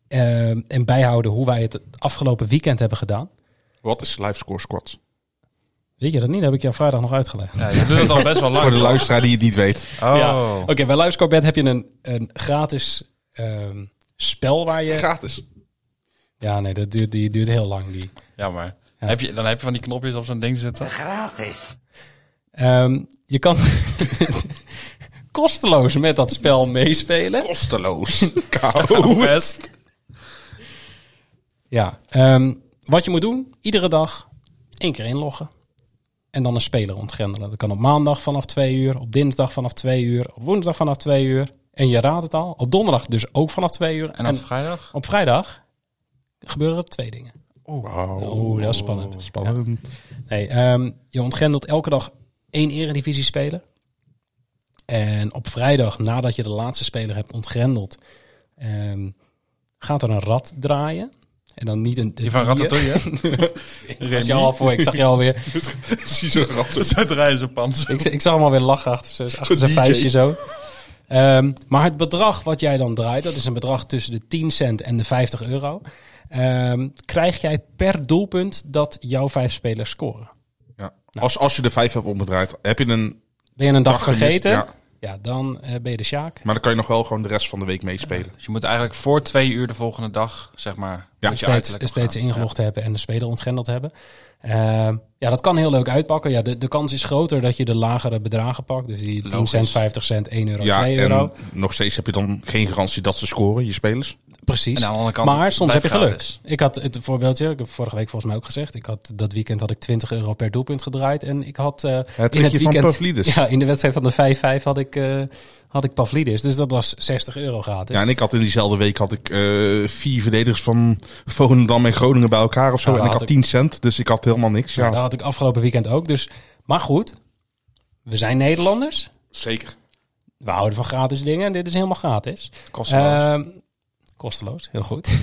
Speaker 6: eh, en bijhouden hoe wij het het afgelopen weekend hebben gedaan.
Speaker 8: Wat is live score squads?
Speaker 6: Weet je dat niet? Dat heb ik jou vrijdag nog uitgelegd.
Speaker 7: Ja, je doet het al best wel lang.
Speaker 8: Voor de luisteraar die het niet weet.
Speaker 7: Oh.
Speaker 6: Ja. Oké, bij livescore bed heb je een, een gratis ehm, spel waar je...
Speaker 8: Gratis.
Speaker 6: Ja, nee, dat duurt, die duurt heel lang. Die.
Speaker 7: Ja, maar Heb je, dan heb je van die knopjes op zo'n ding zitten.
Speaker 9: Gratis.
Speaker 6: Ehm, je kan kosteloos met dat spel meespelen.
Speaker 8: Kosteloos.
Speaker 7: Best.
Speaker 6: Ja, ehm, wat je moet doen, iedere dag één keer inloggen. En dan een speler ontgrendelen. Dat kan op maandag vanaf twee uur, op dinsdag vanaf twee uur, op woensdag vanaf twee uur. En je raadt het al, op donderdag dus ook vanaf twee uur.
Speaker 7: En
Speaker 6: En,
Speaker 7: op vrijdag?
Speaker 6: op vrijdag gebeuren er twee dingen. Oeh, dat is spannend.
Speaker 8: Spannend.
Speaker 6: Nee, ehm, je ontgrendelt elke dag één eredivisie speler. En op vrijdag, nadat je de laatste speler hebt ontgrendeld, ehm, gaat er een rad draaien. En dan niet een...
Speaker 7: Die van Ratatouille.
Speaker 6: Ik was jou al voor, ik zag jou alweer.
Speaker 8: Precies een rat.
Speaker 7: Dat is uit Reizenpans.
Speaker 6: Ik, ik zag hem alweer lachen achter zijn, achter zijn
Speaker 8: DJ.
Speaker 6: vuistje zo. Ehm, maar het bedrag wat jij dan draait, dat is een bedrag tussen de 10 cent en de 50 euro. Ehm, krijg jij per doelpunt dat jouw vijf spelers scoren.
Speaker 8: Ja. Als, als je de vijf hebt omgedraaid, heb je een
Speaker 6: Ben je een dag,
Speaker 8: dag gemist,
Speaker 6: vergeten? Ja,
Speaker 8: Ja.
Speaker 6: dan eh, ben je de Sjaak.
Speaker 8: Maar dan kan je nog wel gewoon de rest van de week meespelen.
Speaker 7: Dus je moet eigenlijk voor twee uur de volgende dag, zeg maar,
Speaker 8: Ja.
Speaker 7: moet je
Speaker 6: steeds,
Speaker 7: uiterlijk op
Speaker 6: steeds
Speaker 7: gaan.
Speaker 6: ingelogd hebben en de speler ontgrendeld hebben. Ehm, ja, dat kan heel leuk uitpakken. Ja, de, de kans is groter dat je de lagere bedragen pakt. Dus die 10 cent,
Speaker 7: Logisch.
Speaker 6: 50 cent, 1 euro,
Speaker 8: Ja,
Speaker 6: 2
Speaker 8: en
Speaker 6: euro.
Speaker 8: nog steeds heb je dan geen garantie dat ze scoren, je spelers.
Speaker 6: Precies.
Speaker 7: En aan de andere kant
Speaker 6: maar soms heb
Speaker 7: blijft
Speaker 6: je geluk.
Speaker 7: gratis.
Speaker 6: Ik had het voorbeeldje, ik heb vorige week volgens mij ook gezegd. Ik had, dat weekend had ik 20 euro per doelpunt gedraaid. En ik had eh, in het
Speaker 8: trickje van
Speaker 6: weekend...
Speaker 8: Pavlidis.
Speaker 6: Ja, in de wedstrijd van de 5-5 had ik, eh had ik Pavlidis. Dus dat was 60 euro gratis.
Speaker 8: Ja, en ik had in diezelfde week had ik eh, vier verdedigers van Volendam en Groningen bij elkaar of zo.
Speaker 6: Ja,
Speaker 8: en
Speaker 6: daar
Speaker 8: ik had
Speaker 6: had
Speaker 8: 10 cent, dus ik had helemaal niks. Ja,
Speaker 6: Dat had ik afgelopen weekend ook. Dus, maar goed, we zijn Nederlanders.
Speaker 8: zeker.
Speaker 6: We houden van gratis dingen en dit is helemaal gratis.
Speaker 7: Kosteloos.
Speaker 6: Ehm, kosteloos, heel goed.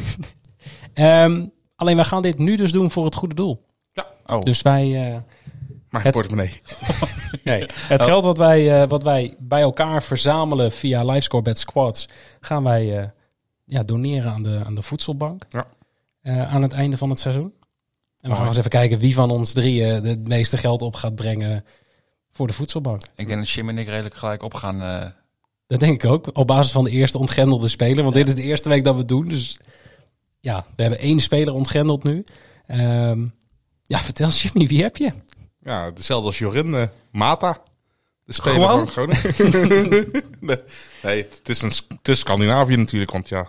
Speaker 6: Ehm, alleen wij gaan dit nu dus doen voor het goede doel.
Speaker 7: Oh,
Speaker 6: Dus wij... eh,
Speaker 8: Maar
Speaker 6: Het-
Speaker 8: portemonnee.
Speaker 6: Nee, het geld wat wij, eh, wat wij bij elkaar verzamelen via Livescore Bad Squads, gaan wij eh, ja, doneren aan de, aan de voedselbank
Speaker 8: Ja.
Speaker 6: Eh, aan het einde van het seizoen. En we gaan
Speaker 7: Mooi.
Speaker 6: eens even kijken wie van ons drieën het meeste geld op gaat brengen voor de voedselbank.
Speaker 7: ik denk dat Jim en ik redelijk gelijk opgaan. eh
Speaker 6: Dat denk ik ook, op basis van de eerste ontgrendelde speler. Want dit is de eerste week dat we het doen. Dus ja, we hebben één speler ontgrendeld nu. Ehm, ja, vertel Jimmy, wie heb je?
Speaker 8: Ja, dezelfde als Jorin. eh, Mata. De speler
Speaker 7: Gewoon?
Speaker 8: van Groningen. nee, nee, het is, een, het is Scandinavië natuurlijk, want ja.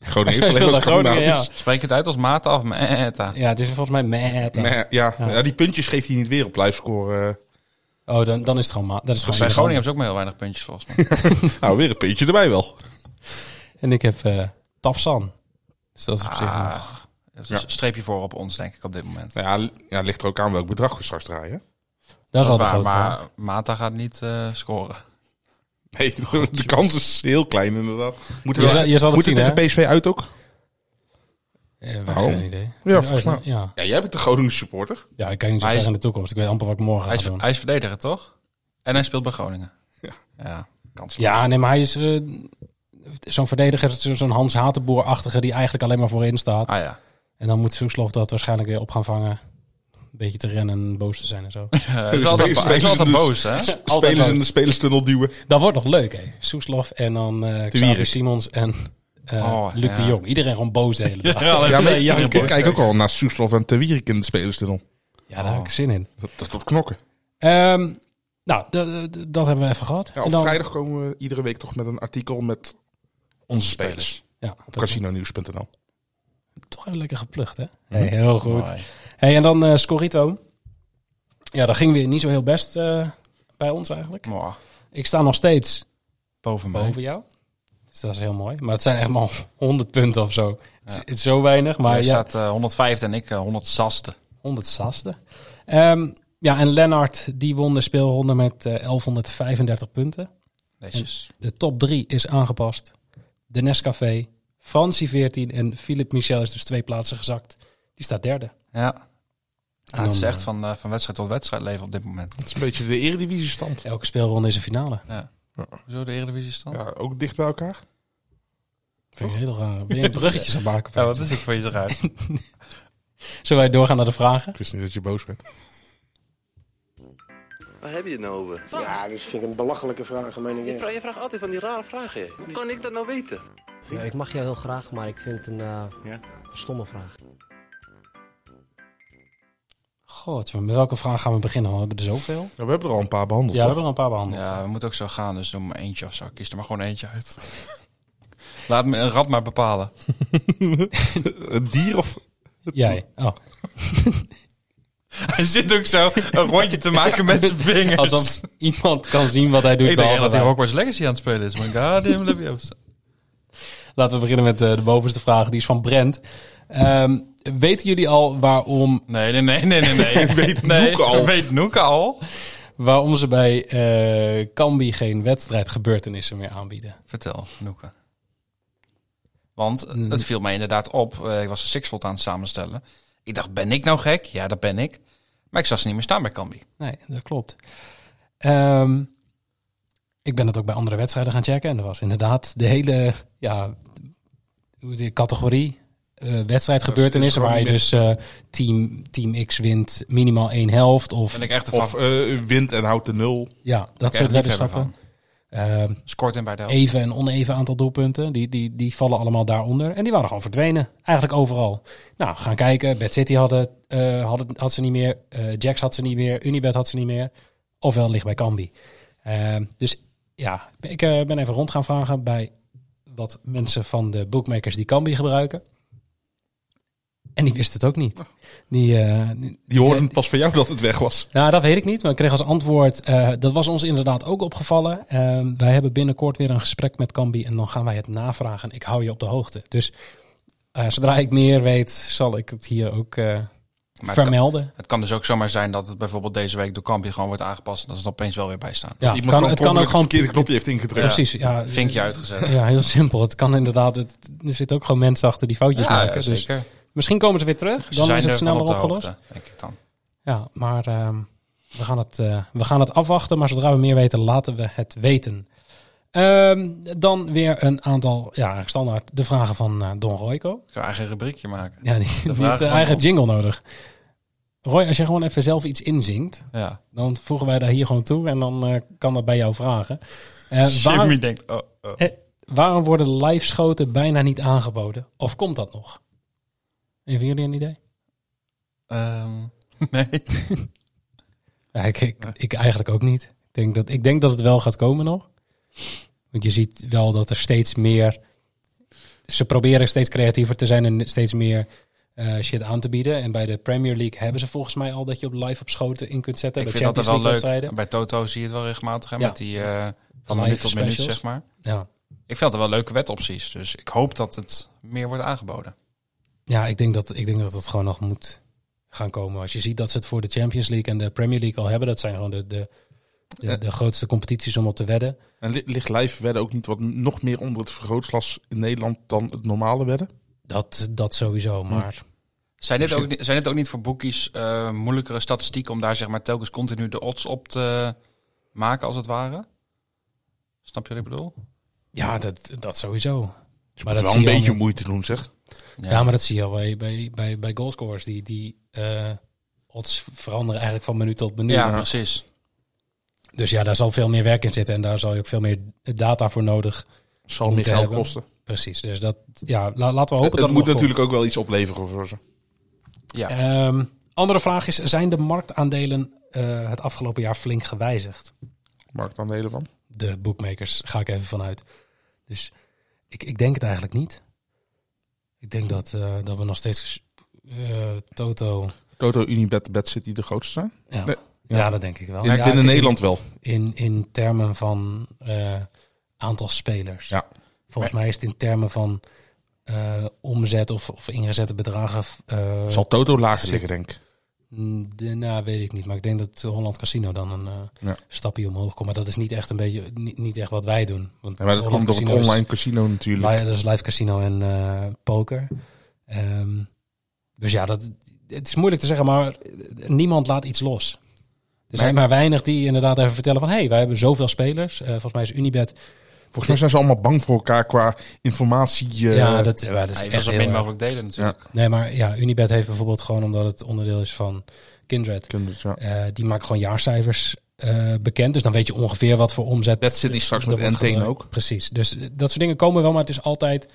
Speaker 8: Groningen heeft alleen maar
Speaker 6: Groningen,
Speaker 8: Scandinavisch.
Speaker 7: Spreek het uit als Mata of Meta.
Speaker 6: Ja, het is volgens mij meta.
Speaker 8: Nee, ja, ja. die puntjes geeft hij niet weer op livescore. eh.
Speaker 6: Oh, dan, dan is het gewoon ma. Dat is gewoon
Speaker 7: Bij Groningen hebben
Speaker 6: Groningen.
Speaker 7: ze ook maar heel weinig puntjes volgens mij.
Speaker 8: nou, weer een puntje erbij wel.
Speaker 6: En ik heb eh Tafsan. Dus dat is op zich
Speaker 7: Ah,
Speaker 6: nog...
Speaker 7: Dat is een streepje voor op ons, denk ik, op dit moment.
Speaker 8: Nou ja, l- ja, ligt er ook aan welk bedrag we straks draaien.
Speaker 6: Dat
Speaker 7: Dat
Speaker 6: is wel
Speaker 7: is
Speaker 6: de
Speaker 7: waar,
Speaker 6: grote vraag.
Speaker 7: maar Mata gaat niet eh, scoren.
Speaker 8: Nee, de kans is heel klein inderdaad. Moet
Speaker 6: Je zal- je zal het
Speaker 8: moet
Speaker 6: zien,
Speaker 8: tegen PSV uit ook?
Speaker 6: Eh,
Speaker 8: Oh.
Speaker 6: Geen idee.
Speaker 8: Ja, volgens mij.
Speaker 6: Ja.
Speaker 8: Ja, jij bent de Groningen supporter.
Speaker 6: ja, ik kijk niet zo
Speaker 7: Hij
Speaker 6: ver
Speaker 7: is-
Speaker 6: in de toekomst. Ik weet amper wat ik morgen
Speaker 7: Hij
Speaker 6: ga
Speaker 7: is,
Speaker 6: doen.
Speaker 7: hij is verdediger, toch? En hij speelt bij Groningen.
Speaker 8: Ja.
Speaker 7: Ja, kans.
Speaker 6: Ja, nee, maar hij is eh, zo'n verdediger, zo- zo'n Hans Hatenboer-achtige die eigenlijk alleen maar voorin staat.
Speaker 7: Ah ja.
Speaker 6: En dan moet Soeslof dat waarschijnlijk weer op gaan vangen. Een beetje te rennen en boos te zijn en zo.
Speaker 7: Eh, hij is wel
Speaker 8: spelers-
Speaker 7: altijd, hij is wel altijd
Speaker 8: spelers-
Speaker 7: boos, hè?
Speaker 6: Altijd
Speaker 8: Spelers
Speaker 6: leuk.
Speaker 8: in de spelerstunnel duwen.
Speaker 6: Dat wordt nog leuk, hè. Soeslof en dan eh Xavier
Speaker 8: Wierik.
Speaker 6: Simons en eh,
Speaker 7: Oh,
Speaker 6: Luc
Speaker 7: ja.
Speaker 6: de Jong. Iedereen gewoon boos de hele dag. Ja,
Speaker 7: alleen
Speaker 8: Ja, maar
Speaker 7: iedereen
Speaker 8: ik, ik
Speaker 7: boos.
Speaker 8: kijk ook al naar Soeslof en Te Wierik in de spelerstunnel.
Speaker 6: daar heb ik zin in.
Speaker 8: Dat, dat wordt knokken.
Speaker 6: Ehm, nou, d- d- dat hebben we even gehad.
Speaker 8: Ja,
Speaker 6: En
Speaker 8: op
Speaker 6: dan-
Speaker 8: vrijdag komen we iedere week toch met een artikel met onze spelers.
Speaker 6: Ja,
Speaker 8: Op Casinonews.nl.
Speaker 6: Toch heel lekker geplucht, hè? Hey, heel goed.
Speaker 7: Mooi.
Speaker 6: Hey, en dan eh Scorito. Ja, dat ging weer niet zo heel best eh, bij ons eigenlijk.
Speaker 7: Mwah.
Speaker 6: Ik sta nog steeds
Speaker 7: Boven mij.
Speaker 6: boven jou. Dus dat is heel mooi. Maar het zijn echt maar 100 punten of zo. Het, is- het is zo weinig, maar
Speaker 7: Jij
Speaker 6: ja,
Speaker 7: staat eh 105 en ik eh, 106e.
Speaker 6: 100 saste. Ehm, ja, en Lennart die won de speelronde met eh, 1135 punten.
Speaker 7: Netjes.
Speaker 6: De top 3 is aangepast. De Nescafé, Francie 14 en Philip Michel is dus twee plaatsen gezakt. Die staat derde.
Speaker 7: Ja.
Speaker 6: En
Speaker 7: het is
Speaker 6: dan,
Speaker 7: echt van, eh, van wedstrijd tot wedstrijd leven op dit moment.
Speaker 8: Dat is een beetje de eredivisie stand.
Speaker 6: Elke speelronde is een finale.
Speaker 7: Zo de Eredivisie stand?
Speaker 8: Ja, ook dicht bij elkaar.
Speaker 6: Vind ik heel raar. Ben je bruggetjes aan het maken?
Speaker 7: Ja, wat is ik voor je zo uit?
Speaker 6: Zullen wij doorgaan naar de vragen?
Speaker 8: Ik wist niet dat je boos bent.
Speaker 10: Waar heb je het nou over?
Speaker 3: Ja, dat vind ik een belachelijke vraag, meen ik.
Speaker 10: Je vraagt, je vraagt altijd van die rare vragen. hè. Hoe kan ik dat nou weten?
Speaker 11: Ik mag jou heel graag, maar ik vind het een eh, stomme vraag.
Speaker 6: God, met welke vraag gaan we beginnen? Want we hebben er zoveel.
Speaker 8: Ja, we hebben er al een paar behandeld,
Speaker 6: Ja, we hebben
Speaker 8: toch?
Speaker 6: er een paar behandeld.
Speaker 7: Ja, we moeten ook zo gaan, dus doe maar eentje of zo. Kies er maar gewoon eentje uit. Laat me een rat maar bepalen.
Speaker 8: Een eh, dier of...
Speaker 6: Jij. Oh.
Speaker 7: Hij zit ook zo een rondje te maken met zijn vingers.
Speaker 6: Alsof iemand kan zien wat hij doet.
Speaker 7: ik denk echt
Speaker 6: behalve
Speaker 7: dat hij
Speaker 6: wij.
Speaker 7: Hogwarts Legacy aan het spelen is. Maar goddamn Leviosa.
Speaker 6: Laten we beginnen met eh, de bovenste vraag. Die is van Brent. Ehm, weten jullie al waarom,
Speaker 7: Nee, nee, nee, nee, nee. nee. weet nee,
Speaker 8: Noeke al.
Speaker 7: Weet Noeke al.
Speaker 6: waarom ze bij eh Cambi geen wedstrijdgebeurtenissen meer aanbieden?
Speaker 7: Vertel, Noeke. Want
Speaker 6: Hmm.
Speaker 7: het viel mij inderdaad op. eh, ik was een Sixfold aan het samenstellen. Ik dacht, ben ik nou gek? Ja, dat ben ik. Maar ik zag ze niet meer staan bij Cambi.
Speaker 6: Nee, dat klopt. Ehm, ik ben het ook bij andere wedstrijden gaan checken. En er was inderdaad de hele ja, hoe die categorie eh, wedstrijdgebeurtenissen.
Speaker 8: Dat
Speaker 6: Waar
Speaker 8: is-
Speaker 6: je
Speaker 8: dat
Speaker 6: dus eh, team, team X wint minimaal één helft. Of
Speaker 7: Ben ik echt een
Speaker 8: Of eh, wind en houdt de nul.
Speaker 6: ja, dat
Speaker 7: ik echt
Speaker 6: soort
Speaker 7: niet verder
Speaker 6: weddenschappen. Ehm,
Speaker 7: Scoort in bij de helft.
Speaker 6: even en oneven aantal doelpunten. Die, die, die vallen allemaal daaronder. En die waren gewoon verdwenen. Eigenlijk overal. Nou, gaan kijken. Bad City had, het, eh, had, het, had ze niet meer. eh Jax had ze niet meer. Unibet had ze niet meer. Ofwel ligt bij Cambi. Ehm, dus ja, ik eh, ben even rond gaan vragen bij wat mensen van de bookmakers die Cambi gebruiken. En die wisten het ook niet. Die, eh,
Speaker 8: Die hoorden
Speaker 6: ze-
Speaker 8: het pas van jou dat het weg was.
Speaker 6: nou, dat weet ik niet. Maar ik kreeg als antwoord, eh, dat was ons inderdaad ook opgevallen. Eh, wij hebben binnenkort weer een gesprek met Cambi en dan gaan wij het navragen. Ik hou je op de hoogte. Dus eh, zodra ik meer weet, zal ik het hier ook eh,
Speaker 7: Maar het, kan,
Speaker 6: vermelden.
Speaker 7: het kan dus ook zomaar zijn dat het bijvoorbeeld deze week door Cambi gewoon wordt aangepast. En dat ze er opeens wel weer bij staan.
Speaker 6: Ja,
Speaker 8: Iemand
Speaker 6: kan- het kan ook gewoon...
Speaker 8: het verkeerde knopje heeft ingedrukt.
Speaker 6: Precies, ja. eh,
Speaker 7: Vinkje uitgezet.
Speaker 6: Ja, heel simpel. Het kan inderdaad, het, er zitten ook gewoon mensen achter die foutjes
Speaker 7: Ja,
Speaker 6: maken. Dus
Speaker 7: zeker.
Speaker 6: misschien komen ze weer terug.
Speaker 7: Ze
Speaker 6: Dan
Speaker 7: zijn
Speaker 6: is het
Speaker 7: er van
Speaker 6: sneller
Speaker 7: op de
Speaker 6: opgelost.
Speaker 7: hoogte, denk ik dan.
Speaker 6: Ja, maar ehm, we, gaan het, eh, we gaan het afwachten. Maar zodra we meer weten, laten we het weten. Ehm, dan weer een aantal, ja, standaard de vragen van eh, Don Royco.
Speaker 7: Ik zou eigen rubriekje maken.
Speaker 6: Ja, die, die
Speaker 7: vragen
Speaker 6: heeft een
Speaker 7: van
Speaker 6: eigen
Speaker 7: Don.
Speaker 6: jingle nodig. Roy, als je gewoon even zelf iets inzingt,
Speaker 7: Ja.
Speaker 6: dan voegen wij daar hier gewoon toe en dan eh, kan dat bij jou vragen. Eh, waar-
Speaker 7: Jimmy denkt, oh, oh.
Speaker 6: eh, waarom worden live schoten bijna niet aangeboden? Of komt dat nog? Even jullie een idee?
Speaker 7: Ehm, nee.
Speaker 6: Ja, ik, ik, ik eigenlijk ook niet. denk dat, ik denk dat het wel gaat komen nog. Want je ziet wel dat er steeds meer... Ze proberen steeds creatiever te zijn en steeds meer eh, shit aan te bieden. En bij de Premier League hebben ze volgens mij al dat je op live op schoten in kunt zetten.
Speaker 7: Ik
Speaker 6: bij
Speaker 7: vind dat
Speaker 6: Champions
Speaker 7: wel
Speaker 6: League
Speaker 7: leuk.
Speaker 6: wedstrijden.
Speaker 7: Bij Toto zie je het wel regelmatig. Hè,
Speaker 6: Ja.
Speaker 7: Met die eh, van
Speaker 6: Live
Speaker 7: minuut tot minuut,
Speaker 6: specials.
Speaker 7: zeg maar.
Speaker 6: Ja.
Speaker 7: Ik vind dat wel leuke wetopties. Dus ik hoop dat het meer wordt aangeboden.
Speaker 6: Ja, ik denk, dat, ik denk dat dat gewoon nog moet gaan komen. Als je ziet dat ze het voor de Champions League en de Premier League al hebben. Dat zijn gewoon de, de, de,
Speaker 8: Ja.
Speaker 6: de grootste competities om op te wedden.
Speaker 8: En li- ligt live wedden ook niet wat nog meer onder het vergrootglas in Nederland dan het normale wedden?
Speaker 6: Dat, dat sowieso, maar...
Speaker 7: Zijn dit, ook,
Speaker 8: Misschien-
Speaker 7: ni- zijn dit ook niet voor boekies eh, moeilijkere statistieken om daar zeg maar telkens continu de odds op te maken als het ware? Snap je wat ik bedoel?
Speaker 6: Ja, dat, dat sowieso.
Speaker 8: Dus
Speaker 6: Maar
Speaker 8: moet
Speaker 6: dat
Speaker 8: wel
Speaker 6: zie
Speaker 8: een
Speaker 6: je al
Speaker 8: beetje
Speaker 6: met-
Speaker 8: moeite doen, zeg.
Speaker 6: Ja, maar dat zie je al bij, bij, bij, bij goalscorers. Die, die eh, odds veranderen eigenlijk van minuut tot minuut.
Speaker 7: Ja, precies.
Speaker 6: Dus ja, daar zal veel meer werk in zitten. En daar zal je ook veel meer data voor nodig
Speaker 8: Zal
Speaker 6: moeten
Speaker 8: meer geld
Speaker 6: hebben.
Speaker 8: kosten.
Speaker 6: Precies, dus dat, ja, la- laten we hopen dat
Speaker 8: het moet
Speaker 6: nog komt.
Speaker 8: natuurlijk ook wel iets opleveren voor ze.
Speaker 7: Ja.
Speaker 6: Ehm, andere vraag is, zijn de marktaandelen eh, het afgelopen jaar flink gewijzigd?
Speaker 8: Marktaandelen van.
Speaker 6: De bookmakers, ga ik even vanuit. Dus ik, ik denk het eigenlijk niet. Ik denk dat, eh, dat we nog steeds eh, Toto...
Speaker 8: Toto, Unibet, Bad City de grootste zijn.
Speaker 6: Ja,
Speaker 8: Nee,
Speaker 6: ja.
Speaker 8: ja.
Speaker 6: dat denk ik wel.
Speaker 8: In-
Speaker 6: Oh, Ja,
Speaker 8: binnen
Speaker 6: ik-
Speaker 8: Nederland wel.
Speaker 6: In, in termen van eh, aantal spelers.
Speaker 8: Ja.
Speaker 6: Volgens mij is het in termen van eh, omzet of, of ingezette bedragen... eh,
Speaker 8: Zal Toto lager liggen, denk ik.
Speaker 6: Mm, De, nou, weet ik niet. Maar ik denk dat Holland Casino dan een eh,
Speaker 8: Ja.
Speaker 6: stapje omhoog komt. Maar dat is niet echt, een beetje, niet, niet echt wat wij doen. Want
Speaker 8: Ja, maar dat
Speaker 6: Holland
Speaker 8: komt door het
Speaker 6: Casino is
Speaker 8: online casino natuurlijk.
Speaker 6: li- dat is live casino en eh, poker. Ehm, dus ja, dat, het is moeilijk te zeggen, maar niemand laat iets los. Er zijn maar weinig die inderdaad even vertellen van... hé, hey, wij hebben zoveel spelers. Eh, volgens mij is Unibet...
Speaker 8: Volgens mij zijn ze allemaal bang voor elkaar qua informatie. eh,
Speaker 6: ja, dat, ja, dat is
Speaker 7: Hij wil
Speaker 6: echt
Speaker 7: zo
Speaker 6: heel
Speaker 7: min
Speaker 6: erg.
Speaker 7: mogelijk delen natuurlijk.
Speaker 6: Nee, maar ja, Unibet heeft bijvoorbeeld gewoon... omdat het onderdeel is van Kindred...
Speaker 8: Kinders, ja.
Speaker 6: Eh, die maken gewoon jaarcijfers eh, bekend. Dus dan weet je ongeveer wat voor omzet.
Speaker 8: Dat zit die straks
Speaker 6: er
Speaker 8: met
Speaker 6: wordt
Speaker 8: N10
Speaker 6: gebruikt.
Speaker 8: ook.
Speaker 6: Precies. Dus eh, dat soort dingen komen wel, maar het is altijd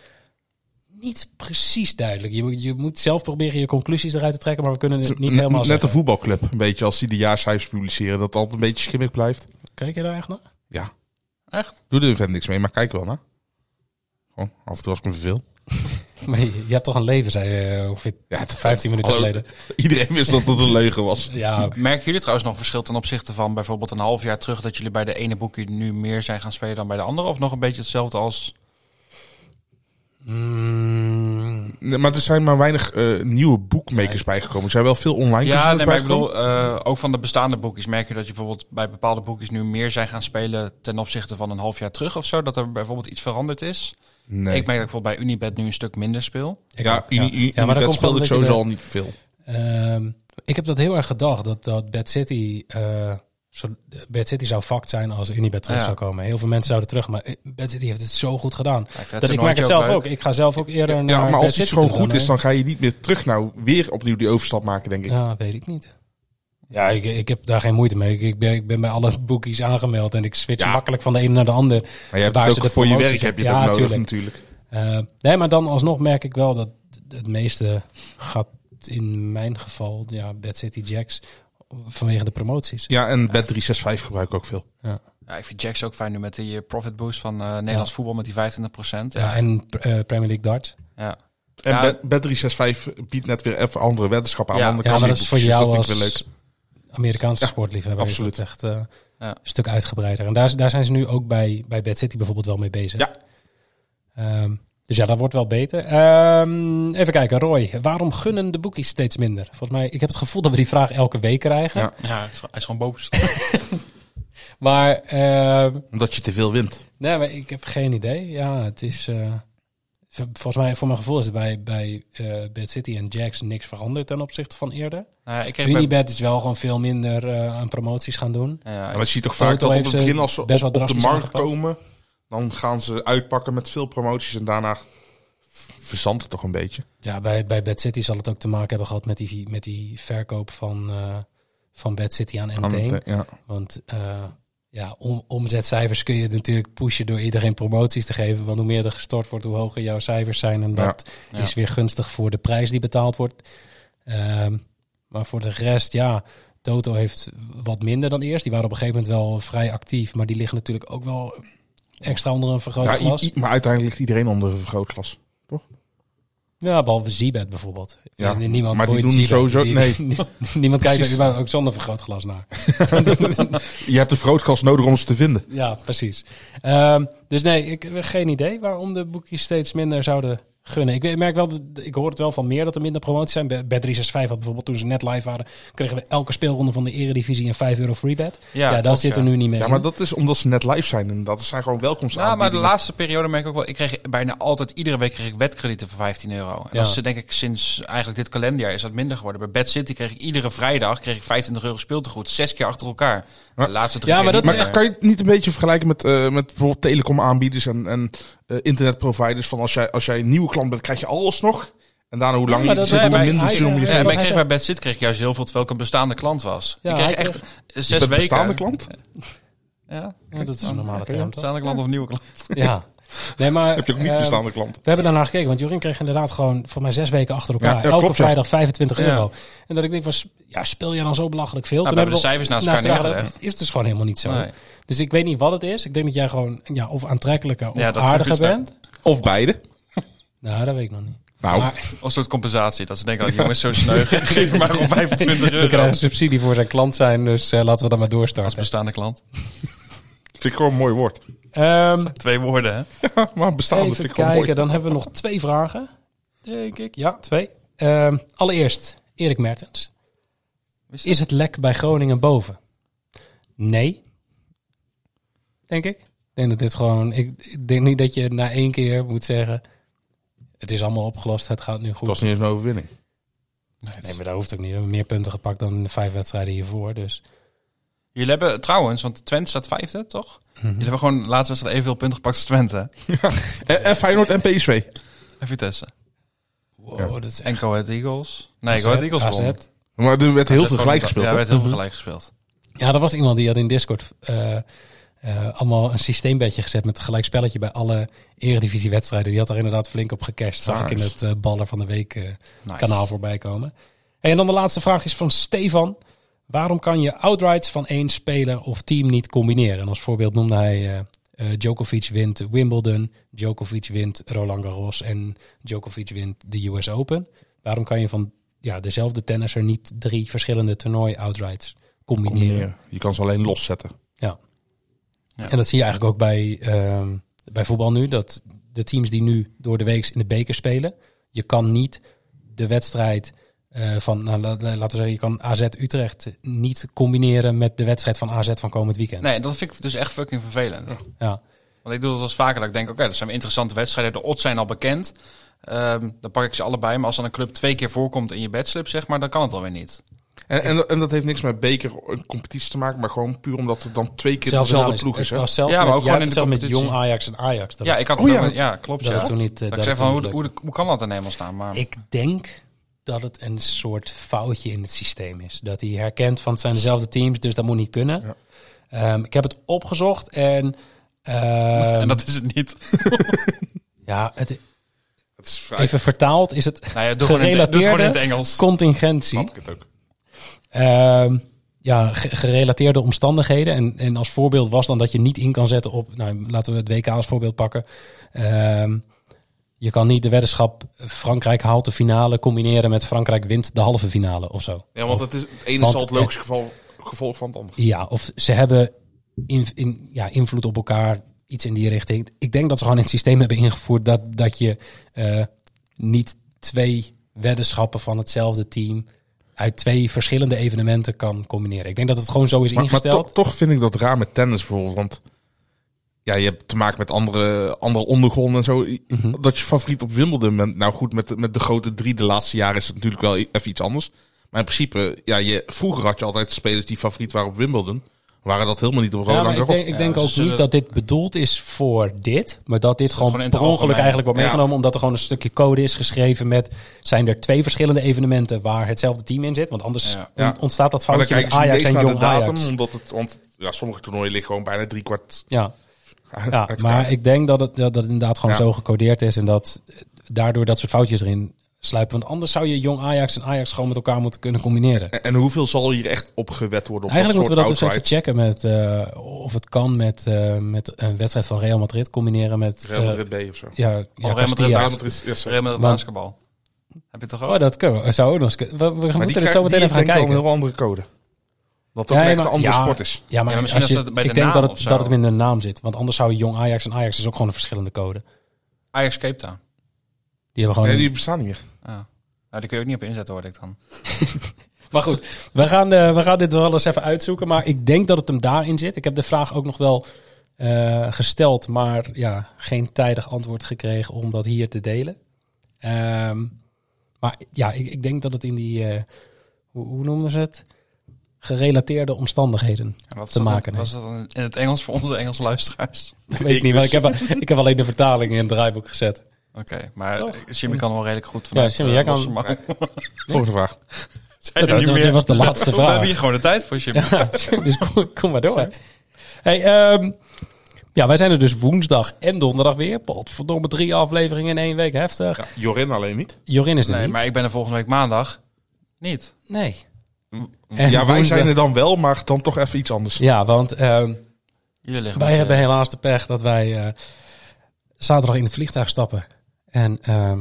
Speaker 6: niet precies duidelijk. Je, moet- je moet zelf proberen je conclusies eruit te trekken, maar we kunnen het niet
Speaker 8: Net-
Speaker 6: helemaal
Speaker 8: Net
Speaker 6: zeggen.
Speaker 8: een voetbalclub, een beetje. Als die de jaarcijfers publiceren, dat het altijd een beetje schimmig blijft.
Speaker 6: Kijk je daar echt naar?
Speaker 8: Ja.
Speaker 7: Echt?
Speaker 8: Doe er verder niks mee, maar kijk wel naar. Gewoon, af en toe als ik me verveel.
Speaker 6: Maar je, je hebt toch een leven, zei je eh, ongeveer
Speaker 8: Ja,
Speaker 6: 15 minuten
Speaker 8: Hallo,
Speaker 6: geleden.
Speaker 8: Iedereen wist dat het een leugen was.
Speaker 6: Ja, oké.
Speaker 7: Merken jullie trouwens nog verschil ten opzichte van bijvoorbeeld een half jaar terug... dat jullie bij de ene boekje nu meer zijn gaan spelen dan bij de andere? Of nog een beetje hetzelfde als...
Speaker 6: Mm,
Speaker 8: Nee, maar er zijn maar weinig eh, nieuwe boekmakers bijgekomen. Er zijn wel veel online
Speaker 7: Ja,
Speaker 8: casinos
Speaker 6: dus
Speaker 7: nee, maar ik
Speaker 8: bijgekomen.
Speaker 7: bedoel, eh, ook van de bestaande boekjes merk je dat je bijvoorbeeld bij bepaalde boekjes nu meer zijn gaan spelen ten opzichte van een half jaar terug of zo. Dat er bijvoorbeeld iets veranderd is.
Speaker 8: Nee.
Speaker 7: Ik merk dat ik bijvoorbeeld bij Unibet nu een stuk minder speel.
Speaker 8: ja,
Speaker 6: ja.
Speaker 8: Uni- Uni-
Speaker 6: Ja, maar dat
Speaker 8: Unibet
Speaker 6: komt
Speaker 8: speelde ik
Speaker 6: wel een
Speaker 8: sowieso
Speaker 6: beetje
Speaker 8: al niet veel.
Speaker 6: Ehm, ik heb dat heel erg gedacht, dat, dat Bad City... eh, zo- Bad City zou fucked zijn als Unibet terug
Speaker 7: Ja.
Speaker 6: zou komen. Heel veel mensen zouden terug, maar eh, Bad City heeft het zo goed gedaan.
Speaker 7: Ja, vind
Speaker 6: Dat ik merk
Speaker 7: toernooitje
Speaker 6: het zelf
Speaker 7: leuk.
Speaker 6: ook. Ik ga zelf ook eerder naar
Speaker 8: Ja, maar
Speaker 6: Bad
Speaker 8: als iets
Speaker 6: City
Speaker 8: gewoon
Speaker 6: toe
Speaker 8: goed
Speaker 6: dan,
Speaker 8: is,
Speaker 6: hè?
Speaker 8: dan ga je niet meer terug. Nou, weer opnieuw die overstap maken, denk ik.
Speaker 6: Ja, weet ik niet. Ja, ik, ik heb daar geen moeite mee. Ik, ik, ben, ik ben bij alle boekies aangemeld en ik switch
Speaker 8: Ja.
Speaker 6: makkelijk van de ene naar de ander.
Speaker 8: Maar je hebt
Speaker 6: Waar
Speaker 8: het
Speaker 6: ze
Speaker 8: ook
Speaker 6: de
Speaker 8: voor je
Speaker 6: promoties
Speaker 8: werk heb je het
Speaker 6: hebben.
Speaker 8: ook
Speaker 6: Ja,
Speaker 8: nodig
Speaker 6: tuurlijk.
Speaker 8: natuurlijk.
Speaker 6: Eh, nee, maar dan alsnog merk ik wel dat het meeste gaat in mijn geval, ja, Bad City Jacks, vanwege de promoties.
Speaker 8: Ja, en Bed 365 gebruik ik ook veel.
Speaker 7: Ja, ik vind Jacks ook fijn nu met die eh, profit boost van eh, Nederlands voetbal met die 25%.
Speaker 6: Ja, en eh, Premier League darts.
Speaker 7: ja.
Speaker 8: En
Speaker 7: Ja.
Speaker 8: Bed- Bed 365 biedt net weer even andere weddenschappen aan.
Speaker 7: Ja.
Speaker 8: andere
Speaker 6: Ja, maar dat is
Speaker 8: casinoboekjes,
Speaker 6: voor
Speaker 8: dus
Speaker 6: jou
Speaker 8: dat vind ik wel
Speaker 6: als Amerikaanse
Speaker 8: Ja,
Speaker 6: sportliefhebber. is dat
Speaker 8: absoluut.
Speaker 6: echt eh,
Speaker 7: Ja.
Speaker 6: een stuk uitgebreider. En daar, daar zijn ze nu ook bij, bij Bad City bijvoorbeeld wel mee bezig.
Speaker 8: Ja.
Speaker 6: Ehm, dus ja, dat wordt wel beter. Ehm, even kijken, Roy. Waarom gunnen de boekies steeds minder? Volgens mij, ik heb het gevoel dat we die vraag elke week krijgen.
Speaker 8: Ja.
Speaker 7: ja, hij is- hij is gewoon boos.
Speaker 6: Maar, ehm,
Speaker 8: leuk. Omdat je te veel wint.
Speaker 6: nee, maar ik heb geen idee. Ja, het is... eh, v- volgens mij, voor mijn gevoel is het bij, bij eh, Bad City en Jax niks veranderd ten opzichte van eerder.
Speaker 7: Nou ja, ik kreeg bij-
Speaker 6: Unibet is wel gewoon veel minder eh, aan promoties gaan doen.
Speaker 7: ja,
Speaker 8: Ja,
Speaker 7: ik-
Speaker 8: maar je ziet toch
Speaker 6: Toto
Speaker 8: vaak dat op
Speaker 6: heeft
Speaker 8: het
Speaker 6: ze
Speaker 8: begin als ze op,
Speaker 6: best wel
Speaker 8: op de
Speaker 6: drastisch
Speaker 8: markt
Speaker 6: aangepakt.
Speaker 8: komen, dan gaan ze uitpakken met veel promoties en daarna v- verzandt het toch een beetje.
Speaker 6: Ja, bij, bij Bad City zal het ook te maken hebben gehad met die, met die verkoop van, eh, van Bad City aan
Speaker 8: Aan
Speaker 6: N10.
Speaker 8: het, eh, ja.
Speaker 6: Want eh, ja, om, omzetcijfers kun je natuurlijk pushen door iedereen promoties te geven. Want hoe meer er gestort wordt, hoe hoger jouw cijfers zijn. En dat
Speaker 7: Ja.
Speaker 6: is weer gunstig voor de prijs die betaald wordt. Ehm, maar voor de rest, ja, Ehm, Toto heeft wat minder dan eerst. Die waren op een gegeven moment wel vrij actief, maar die liggen natuurlijk ook wel extra onder een
Speaker 8: Ja,
Speaker 6: vergrootglas.
Speaker 8: i-
Speaker 6: Ja,
Speaker 8: i- maar uiteindelijk ligt iedereen onder een vergrootglas.
Speaker 6: behalve Zibet bijvoorbeeld.
Speaker 8: Ja,
Speaker 6: Nee, niemand
Speaker 8: maar die
Speaker 6: boeit
Speaker 8: doen
Speaker 6: Zibet.
Speaker 8: sowieso-
Speaker 6: Die-
Speaker 8: nee.
Speaker 6: die- niemand kijkt er
Speaker 8: Precies.
Speaker 6: überhaupt ook zonder vergrootglas naar.
Speaker 8: Je hebt een vergrootglas nodig om ze te vinden.
Speaker 6: Ja, precies. Ehm, dus nee, ik heb geen idee waarom de boekjes steeds minder zouden gunnen. Ik merk wel, dat- ik hoor het wel van meer dat er minder promoties zijn. Bij bij 365 had bijvoorbeeld toen ze net live waren, kregen we elke speelronde van de Eredivisie een 5 euro free bet. Ja, dat
Speaker 7: klopt,
Speaker 6: zit er
Speaker 7: ja.
Speaker 6: nu niet meer.
Speaker 8: Ja,
Speaker 6: in.
Speaker 8: maar dat is omdat ze net live zijn. En dat zijn gewoon
Speaker 7: Nou, maar
Speaker 8: welkomstaanbiedingen.
Speaker 7: de laatste periode merk ik ook wel. Ik kreeg bijna altijd iedere week kreeg ik wedkredieten voor 15 euro. En
Speaker 6: Ja.
Speaker 7: dat is eh, denk ik sinds eigenlijk dit kalenderjaar is dat minder geworden. Bij Bad City kreeg ik iedere vrijdag kreeg ik 25 euro speeltegoed. Zes keer achter elkaar. De laatste drie
Speaker 6: Ja,
Speaker 7: keer
Speaker 6: maar dat
Speaker 7: niet
Speaker 8: Maar
Speaker 6: is
Speaker 7: meer.
Speaker 6: echt-
Speaker 8: kan je het niet een beetje vergelijken met, eh, met bijvoorbeeld telecomaanbieders en, en eh, internetproviders? Van als jij, als jij een nieuwe klant bent, krijg je alles nog. En daarna hoe lang
Speaker 6: Ja, maar
Speaker 8: je
Speaker 6: dat-
Speaker 8: zit
Speaker 7: ja,
Speaker 8: om
Speaker 7: maar
Speaker 8: minder
Speaker 6: hij-
Speaker 8: te zien om je
Speaker 6: hij-
Speaker 7: Ja,
Speaker 8: geld.
Speaker 7: maar ik
Speaker 6: hij
Speaker 7: kreeg
Speaker 6: zei-
Speaker 7: bij Bad City kreeg ik juist heel veel, terwijl ik een bestaande klant was.
Speaker 6: Ja,
Speaker 7: ik kreeg
Speaker 6: hij
Speaker 7: echt
Speaker 8: Je
Speaker 7: zes
Speaker 8: bent
Speaker 7: weken.
Speaker 8: bestaande klant?
Speaker 7: Ja,
Speaker 6: Ja, dat is een normale term, toch?
Speaker 7: bestaande klant of nieuwe klant.
Speaker 6: Ja. Nee, maar,
Speaker 8: Heb je ook niet
Speaker 6: ehm,
Speaker 8: bestaande klant?
Speaker 6: We hebben daarnaar gekeken, want Jorin kreeg inderdaad gewoon voor mij zes weken achter elkaar.
Speaker 8: Ja, dat
Speaker 6: elke
Speaker 8: klopt, ja.
Speaker 6: vrijdag 25
Speaker 7: Ja.
Speaker 6: euro. En dat ik denk, was, ja, speel je dan zo belachelijk veel?
Speaker 7: Nou, we hebben de cijfers naast elkaar
Speaker 6: neergelegd.
Speaker 7: neergelegd.
Speaker 6: Is dus gewoon helemaal niet zo.
Speaker 7: Nee.
Speaker 6: Dus ik weet niet wat het is. Ik denk dat jij gewoon ja, of aantrekkelijker of
Speaker 7: Ja, dat is
Speaker 6: aardiger
Speaker 7: ook iets,
Speaker 6: bent.
Speaker 8: Of beide.
Speaker 6: Nou, dat weet ik nog niet.
Speaker 8: Nou,
Speaker 6: Maar
Speaker 7: Als soort compensatie. Dat ze denken, oh, die jongens, zo sneu. Geef me maar gewoon 25
Speaker 6: we
Speaker 7: euro
Speaker 6: krijgen
Speaker 7: als
Speaker 6: subsidie voor zijn klant zijn, dus eh, laten we dat maar doorstarten.
Speaker 7: bestaande klant.
Speaker 8: vind ik gewoon een mooi woord.
Speaker 6: Ehm,
Speaker 7: Twee woorden, hè?
Speaker 8: maar bestaande vind
Speaker 6: even
Speaker 8: ik gewoon mooi.
Speaker 6: kijken, dan hebben we nog twee vragen. Denk ik, ja, twee. Ehm, allereerst, Erik Mertens.
Speaker 7: Wist je
Speaker 6: Is het lek bij Groningen boven? Nee. Denk ik. Ik denk dat dit gewoon... Ik, ik denk niet dat je na één keer moet zeggen... Het is allemaal opgelost, het gaat nu goed.
Speaker 8: Het was niet eens een overwinning.
Speaker 6: Nee, maar dat hoeft ook niet. We hebben meer punten gepakt dan in de vijf wedstrijden hiervoor. Dus.
Speaker 7: Jullie hebben trouwens, want Twente staat vijfde, toch?
Speaker 6: Mhm.
Speaker 7: Jullie hebben gewoon de laatste wedstrijd evenveel punten gepakt als Twente.
Speaker 8: En, en Eh, Feyenoord en PSV.
Speaker 7: En Vitesse.
Speaker 6: Wow,
Speaker 8: Ja.
Speaker 6: dat is
Speaker 7: En Go Ahead Eagles. Nee, Go Ahead Eagles
Speaker 6: AZ.
Speaker 7: won.
Speaker 8: Maar er werd heel
Speaker 7: AZ
Speaker 8: veel
Speaker 7: gewoon-
Speaker 8: gelijk gespeeld.
Speaker 7: Ja, er
Speaker 8: hè?
Speaker 7: werd heel
Speaker 6: Mhm.
Speaker 7: veel gelijk gespeeld.
Speaker 6: Ja, er was iemand die had in Discord eh, eh, allemaal een systeembedje gezet met een gelijk spelletje bij alle eredivisiewedstrijden. Die had er inderdaad flink op gecashed. Zag ik in
Speaker 8: Nice.
Speaker 6: het eh, Baller van de Week eh,
Speaker 7: Nice.
Speaker 6: kanaal voorbij komen. Hey, en dan de laatste vraag is van Stefan. Waarom kan je outrights van één speler of team niet combineren? En als voorbeeld noemde hij eh, eh, Djokovic wint Wimbledon, Djokovic wint Roland Garros en Djokovic wint de US Open. Waarom kan je van ja, dezelfde tennisser niet drie verschillende toernooi outrights combineren?
Speaker 8: Combineren. Je kan ze alleen loszetten.
Speaker 7: Ja.
Speaker 6: En dat zie je eigenlijk ook bij, ehm, bij voetbal nu. Dat de teams die nu door de week in de beker spelen. Je kan niet de wedstrijd eh, van, nou, la- la- laten we zeggen, je kan AZ Utrecht niet combineren met de wedstrijd van AZ van komend weekend.
Speaker 7: Nee, dat vind ik dus echt fucking vervelend.
Speaker 6: Ja.
Speaker 7: Want ik doe dat wel eens vaker. Dat ik denk, oké, dat zijn interessante wedstrijden. De odds zijn al bekend. Ehm, dan pak ik ze allebei. Maar als dan een club twee keer voorkomt in je bedslip, zeg maar, dan kan het alweer niet.
Speaker 8: En, en, en dat heeft niks met beker en competitie te maken, maar gewoon puur omdat het dan twee keer
Speaker 6: Hetzelfde
Speaker 8: dezelfde
Speaker 6: naam
Speaker 8: ploeg
Speaker 6: is-
Speaker 8: is.
Speaker 6: Het
Speaker 8: hè?
Speaker 6: was zelfs
Speaker 7: Ja, maar
Speaker 6: met,
Speaker 7: ook
Speaker 6: jij
Speaker 7: gewoon
Speaker 6: had
Speaker 7: in de
Speaker 6: het zelfs met jong
Speaker 7: competitie.
Speaker 6: Ajax en Ajax. Dat
Speaker 7: Ja,
Speaker 6: het-
Speaker 7: ik had
Speaker 8: Oh,
Speaker 7: het
Speaker 8: ja.
Speaker 7: ook- ja, klopt.
Speaker 6: dat
Speaker 7: ja.
Speaker 6: het toen niet. eh,
Speaker 7: dat ik
Speaker 6: het
Speaker 7: zeg van,
Speaker 6: toen
Speaker 7: hoe,
Speaker 6: niet
Speaker 7: hoe, hoe kan dat in hemelsnaam? Maar
Speaker 6: Ik denk dat het een soort foutje in het systeem is. Dat hij herkent van het zijn dezelfde teams, dus dat moet niet kunnen. Ehm, ik heb het opgezocht en, ehm,
Speaker 7: en dat is het niet.
Speaker 6: ja, het,
Speaker 8: Het is vrij
Speaker 6: even vertaald is het
Speaker 7: Nou ja, doe gewoon in, het- doe het gewoon in het
Speaker 6: gerelateerde
Speaker 7: Engels.
Speaker 6: contingentie.
Speaker 8: snap ik het ook.
Speaker 6: Ehm, ja, ge- gerelateerde omstandigheden. En, en als voorbeeld was dan dat je niet in kan zetten op. Nou, laten we het WK als voorbeeld pakken. Ehm, je kan niet de weddenschap Frankrijk haalt de finale combineren met Frankrijk wint de halve finale of zo.
Speaker 8: Ja,
Speaker 6: Of-
Speaker 8: want het, is, het ene
Speaker 6: want
Speaker 8: is al het logische geval, gevolg van het andere.
Speaker 6: Ja, of ze hebben in, in, ja, invloed op elkaar, iets in die richting. Ik denk dat ze gewoon het systeem hebben ingevoerd dat, dat je eh, niet twee weddenschappen van hetzelfde team uit twee verschillende evenementen kan combineren. Ik denk dat het gewoon zo is
Speaker 8: Maar, maar
Speaker 6: ingesteld.
Speaker 8: toch, toch vind ik dat raar met tennis bijvoorbeeld. Want ja, je hebt te maken met andere, andere ondergronden en zo.
Speaker 6: Mhm.
Speaker 8: Dat je favoriet op Wimbledon bent. Nou goed, met, de- met de grote drie de laatste jaren is het natuurlijk wel even iets anders. Maar in principe, ja, je, vroeger had je altijd spelers die favoriet waren op Wimbledon. Waren dat helemaal niet op
Speaker 6: ja,
Speaker 8: Roland
Speaker 6: maar ik
Speaker 8: Garros.
Speaker 6: denk, ik denk
Speaker 7: ze
Speaker 6: ook
Speaker 7: zullen-
Speaker 6: niet dat dit bedoeld is voor dit. Maar dat dit gewoon,
Speaker 7: gewoon in het
Speaker 6: per ongeluk
Speaker 7: algemeen.
Speaker 6: eigenlijk wordt
Speaker 8: Ja.
Speaker 6: meegenomen. Omdat er gewoon een stukje code is geschreven met... zijn er twee verschillende evenementen waar hetzelfde team in zit? Want anders
Speaker 7: Ja.
Speaker 8: Ja.
Speaker 6: on- ontstaat dat
Speaker 8: Maar dan
Speaker 6: foutje met
Speaker 8: kijken ze
Speaker 6: Ajax
Speaker 8: ineens
Speaker 6: en
Speaker 8: naar de
Speaker 6: Jong
Speaker 8: datum.
Speaker 6: Ajax.
Speaker 8: Omdat het, want ja, sommige toernooien liggen gewoon bijna drie kwart
Speaker 6: Ja.
Speaker 8: uit
Speaker 6: Ja,
Speaker 8: elkaar.
Speaker 6: maar ik denk dat het, dat het inderdaad gewoon
Speaker 8: Ja.
Speaker 6: zo gecodeerd is en dat daardoor dat soort foutjes erin sluipen. Want anders zou je jong Ajax en Ajax gewoon met elkaar moeten kunnen combineren.
Speaker 8: En, en hoeveel zal hier echt opgewet worden? Op
Speaker 6: Eigenlijk
Speaker 8: dat
Speaker 6: moeten we dat
Speaker 8: soort
Speaker 6: dus even
Speaker 8: outrights?
Speaker 6: checken met eh, of het kan met, eh, met een wedstrijd van Real Madrid combineren met
Speaker 8: Real
Speaker 6: eh,
Speaker 8: Madrid B of zo.
Speaker 6: Ja, ja
Speaker 7: Real Madrid
Speaker 6: Castilla.
Speaker 7: Real
Speaker 8: Madrid- ja, sorry.
Speaker 7: Real Madrid
Speaker 6: Maar-
Speaker 7: basketbal. Heb je toch ook?
Speaker 6: Oh, dat kunnen we. Zou ook nog eens kunnen. We, we
Speaker 8: Maar
Speaker 6: moeten
Speaker 8: die
Speaker 6: dit
Speaker 8: krijgt-
Speaker 6: zo meteen
Speaker 8: die
Speaker 6: even gaan
Speaker 8: heeft denk ik
Speaker 6: kijken.
Speaker 8: wel een andere code. Dat
Speaker 6: Ja,
Speaker 8: ook echt
Speaker 6: maar-
Speaker 8: een andere
Speaker 6: ja,
Speaker 8: sport is.
Speaker 6: Ja, maar,
Speaker 7: Ja, misschien
Speaker 6: als je,
Speaker 7: is dat bij de
Speaker 6: ik denk
Speaker 7: naam
Speaker 6: dat
Speaker 7: of
Speaker 6: het,
Speaker 7: zo.
Speaker 6: dat het minder naam zit. Want anders zou jong Ajax en Ajax is ook gewoon een verschillende code.
Speaker 7: Ajax Cape Town.
Speaker 6: Die hebben gewoon
Speaker 8: Nee,
Speaker 6: een-
Speaker 8: die bestaan niet meer.
Speaker 7: Ah. Nou, daar kun je ook niet op inzetten, hoorde ik dan.
Speaker 6: Maar goed, we gaan, eh, we gaan dit wel eens even uitzoeken. Maar ik denk dat het hem daarin zit. Ik heb de vraag ook nog wel eh, gesteld, maar ja, geen tijdig antwoord gekregen om dat hier te delen. Ehm, maar ja, ik, ik denk dat het in die, eh, hoe, hoe noemden ze het? Gerelateerde omstandigheden
Speaker 7: En wat is
Speaker 6: te
Speaker 7: dat dan-
Speaker 6: maken.
Speaker 7: wat
Speaker 6: heeft.
Speaker 7: is dat dan in het Engels voor onze Engelse luisteraars?
Speaker 6: Dat weet ik niet, maar ik heb, wel- ik heb alleen de vertaling in het draaiboek gezet.
Speaker 7: Oké, maar
Speaker 6: Toch?
Speaker 7: Jimmy kan wel redelijk goed vanuit
Speaker 6: Jimmy,
Speaker 7: eh,
Speaker 6: jij kan-
Speaker 7: losse mouw.
Speaker 8: Volgende vraag.
Speaker 7: Zijn er
Speaker 6: Dat-
Speaker 7: niet
Speaker 6: dat-
Speaker 7: meer-
Speaker 6: dit was de laatste
Speaker 7: We
Speaker 6: vraag.
Speaker 7: hebben hier gewoon de tijd voor, Jimmy.
Speaker 6: Ja, dus kom, kom maar door. Hey, ehm, ja, wij zijn er dus woensdag en donderdag weer. Potverdomme, drie afleveringen in één week. Heftig.
Speaker 8: Ja, Jorin alleen niet.
Speaker 6: Jorin is er
Speaker 7: Nee,
Speaker 6: niet.
Speaker 7: maar ik ben er volgende week maandag niet.
Speaker 6: Nee. En
Speaker 8: Ja, wij
Speaker 6: woensdag-
Speaker 8: zijn er dan wel, maar dan toch even iets anders.
Speaker 6: Ja, want ehm,
Speaker 7: Jullie liggen
Speaker 6: wij
Speaker 7: met,
Speaker 6: hebben
Speaker 7: eh,
Speaker 6: helaas de pech dat wij eh, zaterdag in het vliegtuig stappen. En ehm,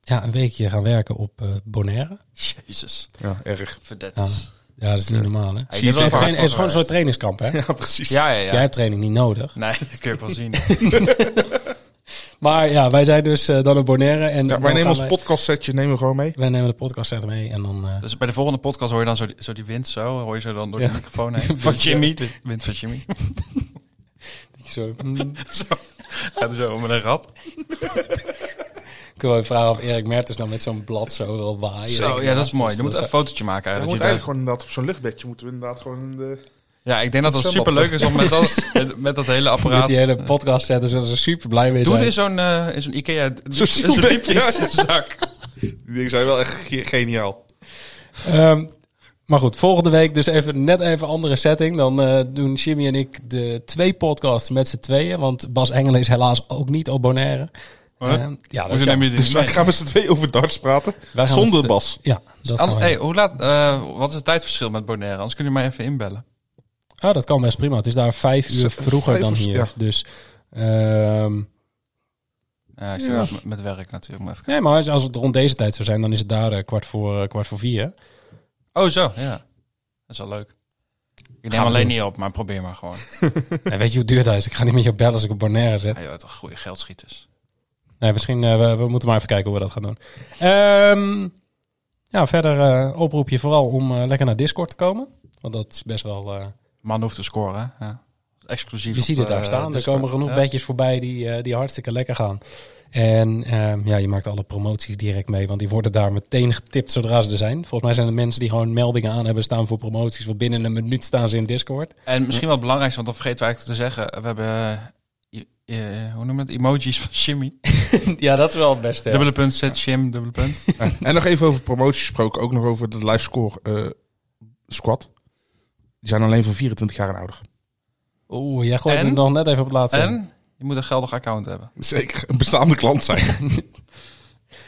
Speaker 6: ja, een weekje gaan werken op eh, Bonaire.
Speaker 7: Jezus,
Speaker 8: Ja, erg.
Speaker 7: verdet.
Speaker 6: Ja. ja, dat is niet normaal hè.
Speaker 7: Ja,
Speaker 6: Het is
Speaker 7: wel
Speaker 6: geen-
Speaker 7: hard
Speaker 6: het is gewoon
Speaker 7: voor
Speaker 6: een soort trainingskamp hè.
Speaker 8: Ja, precies.
Speaker 7: Ja, ja, ja.
Speaker 6: Jij hebt training niet nodig.
Speaker 7: Nee, dat kun je ook wel zien.
Speaker 6: Maar ja, wij zijn dus eh, dan op Bonaire. En
Speaker 8: Ja,
Speaker 6: dan
Speaker 8: wij nemen
Speaker 6: gaan
Speaker 8: ons podcastsetje nemen we gewoon mee.
Speaker 6: Wij nemen de podcast set mee en dan... eh,
Speaker 7: Dus bij de volgende podcast hoor je dan zo die, zo die wind zo. Hoor je zo dan door de
Speaker 6: Ja.
Speaker 7: microfoon heen.
Speaker 6: Van
Speaker 7: De-
Speaker 6: Jimmy.
Speaker 7: De wind van Jimmy.
Speaker 6: Zo, mm.
Speaker 7: Gaat er zo met een rat.
Speaker 6: Ik wil even vragen of Erik Mertens nou met zo'n blad zo wil waaien.
Speaker 7: Zo, ja, dat is mooi. Je moet even een
Speaker 6: dat
Speaker 7: fotootje maken
Speaker 8: We
Speaker 7: eigenlijk.
Speaker 8: moeten
Speaker 7: Dat je
Speaker 8: eigenlijk gewoon inderdaad op zo'n luchtbedje moeten we inderdaad gewoon eh, in de...
Speaker 7: daar- Ja, ik denk dat het
Speaker 8: het
Speaker 7: super
Speaker 8: zwembad,
Speaker 7: leuk is om met dat, met- met dat hele
Speaker 6: zo- Met
Speaker 7: apparaat...
Speaker 6: die hele podcast zetten, zullen ze super blij mee
Speaker 7: Doe
Speaker 6: zijn.
Speaker 7: het in zo'n eh, in zo'n Ikea...
Speaker 8: Zo'n
Speaker 7: in diepjeszak.
Speaker 8: Die dingen zijn wel echt ge- geniaal.
Speaker 6: Ehm, maar goed, volgende week dus even net even andere setting. Dan eh, doen Jimmy en ik de twee podcasts met z'n tweeën. Want Bas Engelen is helaas ook niet op Bonaire.
Speaker 8: Oh,
Speaker 7: Huh?
Speaker 6: Ehm, ja, dat is
Speaker 7: Hoezo neem
Speaker 6: jammer.
Speaker 7: je dit
Speaker 8: Dus
Speaker 7: niet
Speaker 8: wij
Speaker 7: mee?
Speaker 8: gaan met z'n twee over darts praten.
Speaker 6: Wij gaan eh, met
Speaker 8: Zonder
Speaker 6: z'n-
Speaker 8: Bas. Dus
Speaker 6: Ja, dat gaan
Speaker 7: An-
Speaker 6: we
Speaker 7: hey,
Speaker 6: doen.
Speaker 7: hoe laat, eh, wat is het tijdverschil met Bonaire? Anders kun je mij even inbellen.
Speaker 6: Ah, dat kan best prima. Het is daar vijf uur
Speaker 8: Vijf
Speaker 6: vroeger dan
Speaker 8: of-
Speaker 6: hier.
Speaker 8: ja.
Speaker 6: Dus... ehm,
Speaker 7: Ja, ik zit nog met- met werk natuurlijk. Maar even...
Speaker 6: nee, maar als- als het rond deze tijd zou zijn, dan is het daar eh, kwart, voor, eh, kwart voor vier.
Speaker 7: Oh, zo. Ja. Dat is wel leuk. Ik neem
Speaker 6: we
Speaker 7: alleen
Speaker 6: doen.
Speaker 7: niet op, maar probeer maar gewoon.
Speaker 6: En weet je hoe duur dat is? Ik ga niet met jou bellen als ik op Bonaire zit.
Speaker 7: Ja, je bent een goede geldschieters.
Speaker 6: Nee, misschien eh, we, we moeten maar even kijken hoe we dat gaan doen. Ehm, ja, verder eh, oproep je vooral om eh, lekker naar Discord te komen. Want dat is best wel... eh,
Speaker 7: Man hoeft te scoren. hè? Ja. Exclusief.
Speaker 6: je ziet het
Speaker 7: op,
Speaker 6: daar
Speaker 7: eh,
Speaker 6: staan. Er
Speaker 7: Discord.
Speaker 6: komen genoeg
Speaker 7: Ja.
Speaker 6: bedjes voorbij die, eh, die hartstikke lekker gaan. En ehm, ja, je maakt alle promoties direct mee. Want die worden daar meteen getipt zodra ze er zijn. Volgens mij zijn er mensen die gewoon meldingen aan hebben staan voor promoties. Want binnen een minuut staan ze in Discord.
Speaker 7: En misschien wel het belangrijkste, want dan vergeten we eigenlijk te zeggen. We hebben, eh, i- eh, hoe noem je het, emojis van Jimmy.
Speaker 6: ja, dat is wel het beste.
Speaker 7: Dubbele punt, zet Jim, dubbele punt.
Speaker 8: En nog even over promotie gesproken. Ook nog over de live score eh, squad. Die zijn alleen van 24 jaar en ouder.
Speaker 6: Oeh, jij gooit
Speaker 7: En?
Speaker 6: hem nog net even op het laatste.
Speaker 7: en je moet een geldig account hebben.
Speaker 8: Zeker een bestaande klant zijn.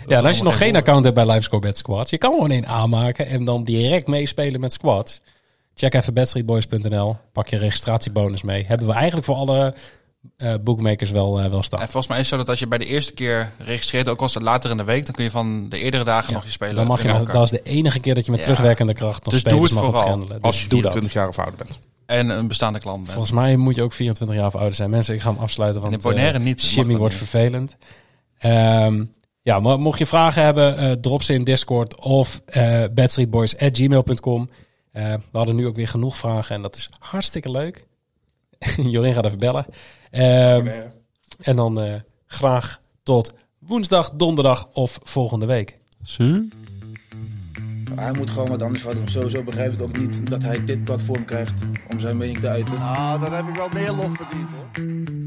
Speaker 6: Ja, en als je
Speaker 7: allemaal
Speaker 6: nog geen account hebt bij Livescore Bet Squads, je kan gewoon één aanmaken en dan direct meespelen met squads. Check even bedstreetboys.nl, pak je registratiebonus mee. Hebben we eigenlijk voor alle eh, bookmakers wel, eh, wel
Speaker 7: En
Speaker 6: staan.
Speaker 7: volgens mij is het zo dat als je bij de eerste keer registreert, ook als het later in de week, dan kun je van de eerdere dagen nog je spelen.
Speaker 6: Dan mag je,
Speaker 7: in
Speaker 6: dat,
Speaker 7: elkaar.
Speaker 6: dat is de enige keer dat je met
Speaker 7: Ja.
Speaker 6: terugwerkende kracht nog
Speaker 7: Dus doe
Speaker 6: spelers
Speaker 7: het
Speaker 6: mag
Speaker 7: vooral.
Speaker 6: ontgrendelen.
Speaker 8: Als
Speaker 6: Dus
Speaker 8: je
Speaker 6: doe dat.
Speaker 8: 24 jaar of ouder bent.
Speaker 7: En een bestaande klant bent.
Speaker 6: Volgens mij moet je ook 24 jaar of ouder zijn. Mensen, ik ga hem afsluiten, want
Speaker 7: in Bonaire
Speaker 6: eh,
Speaker 7: niet, dat mag
Speaker 6: Jimmy
Speaker 7: dat
Speaker 6: wordt
Speaker 7: niet.
Speaker 6: vervelend. Ehm, ja, maar mocht je vragen hebben, eh, drop ze in Discord of eh badstreetboys.gmail.com. Eh, we hadden nu ook weer genoeg vragen en dat is hartstikke leuk. Jorin gaat even bellen. Ehm, en dan eh, graag tot woensdag, donderdag of volgende week.
Speaker 10: Hij moet gewoon wat anders gaan doen. Sowieso begrijp ik ook niet dat hij dit platform krijgt om zijn mening te uiten.
Speaker 9: Ah, dan heb ik wel meer lof verdiend hoor.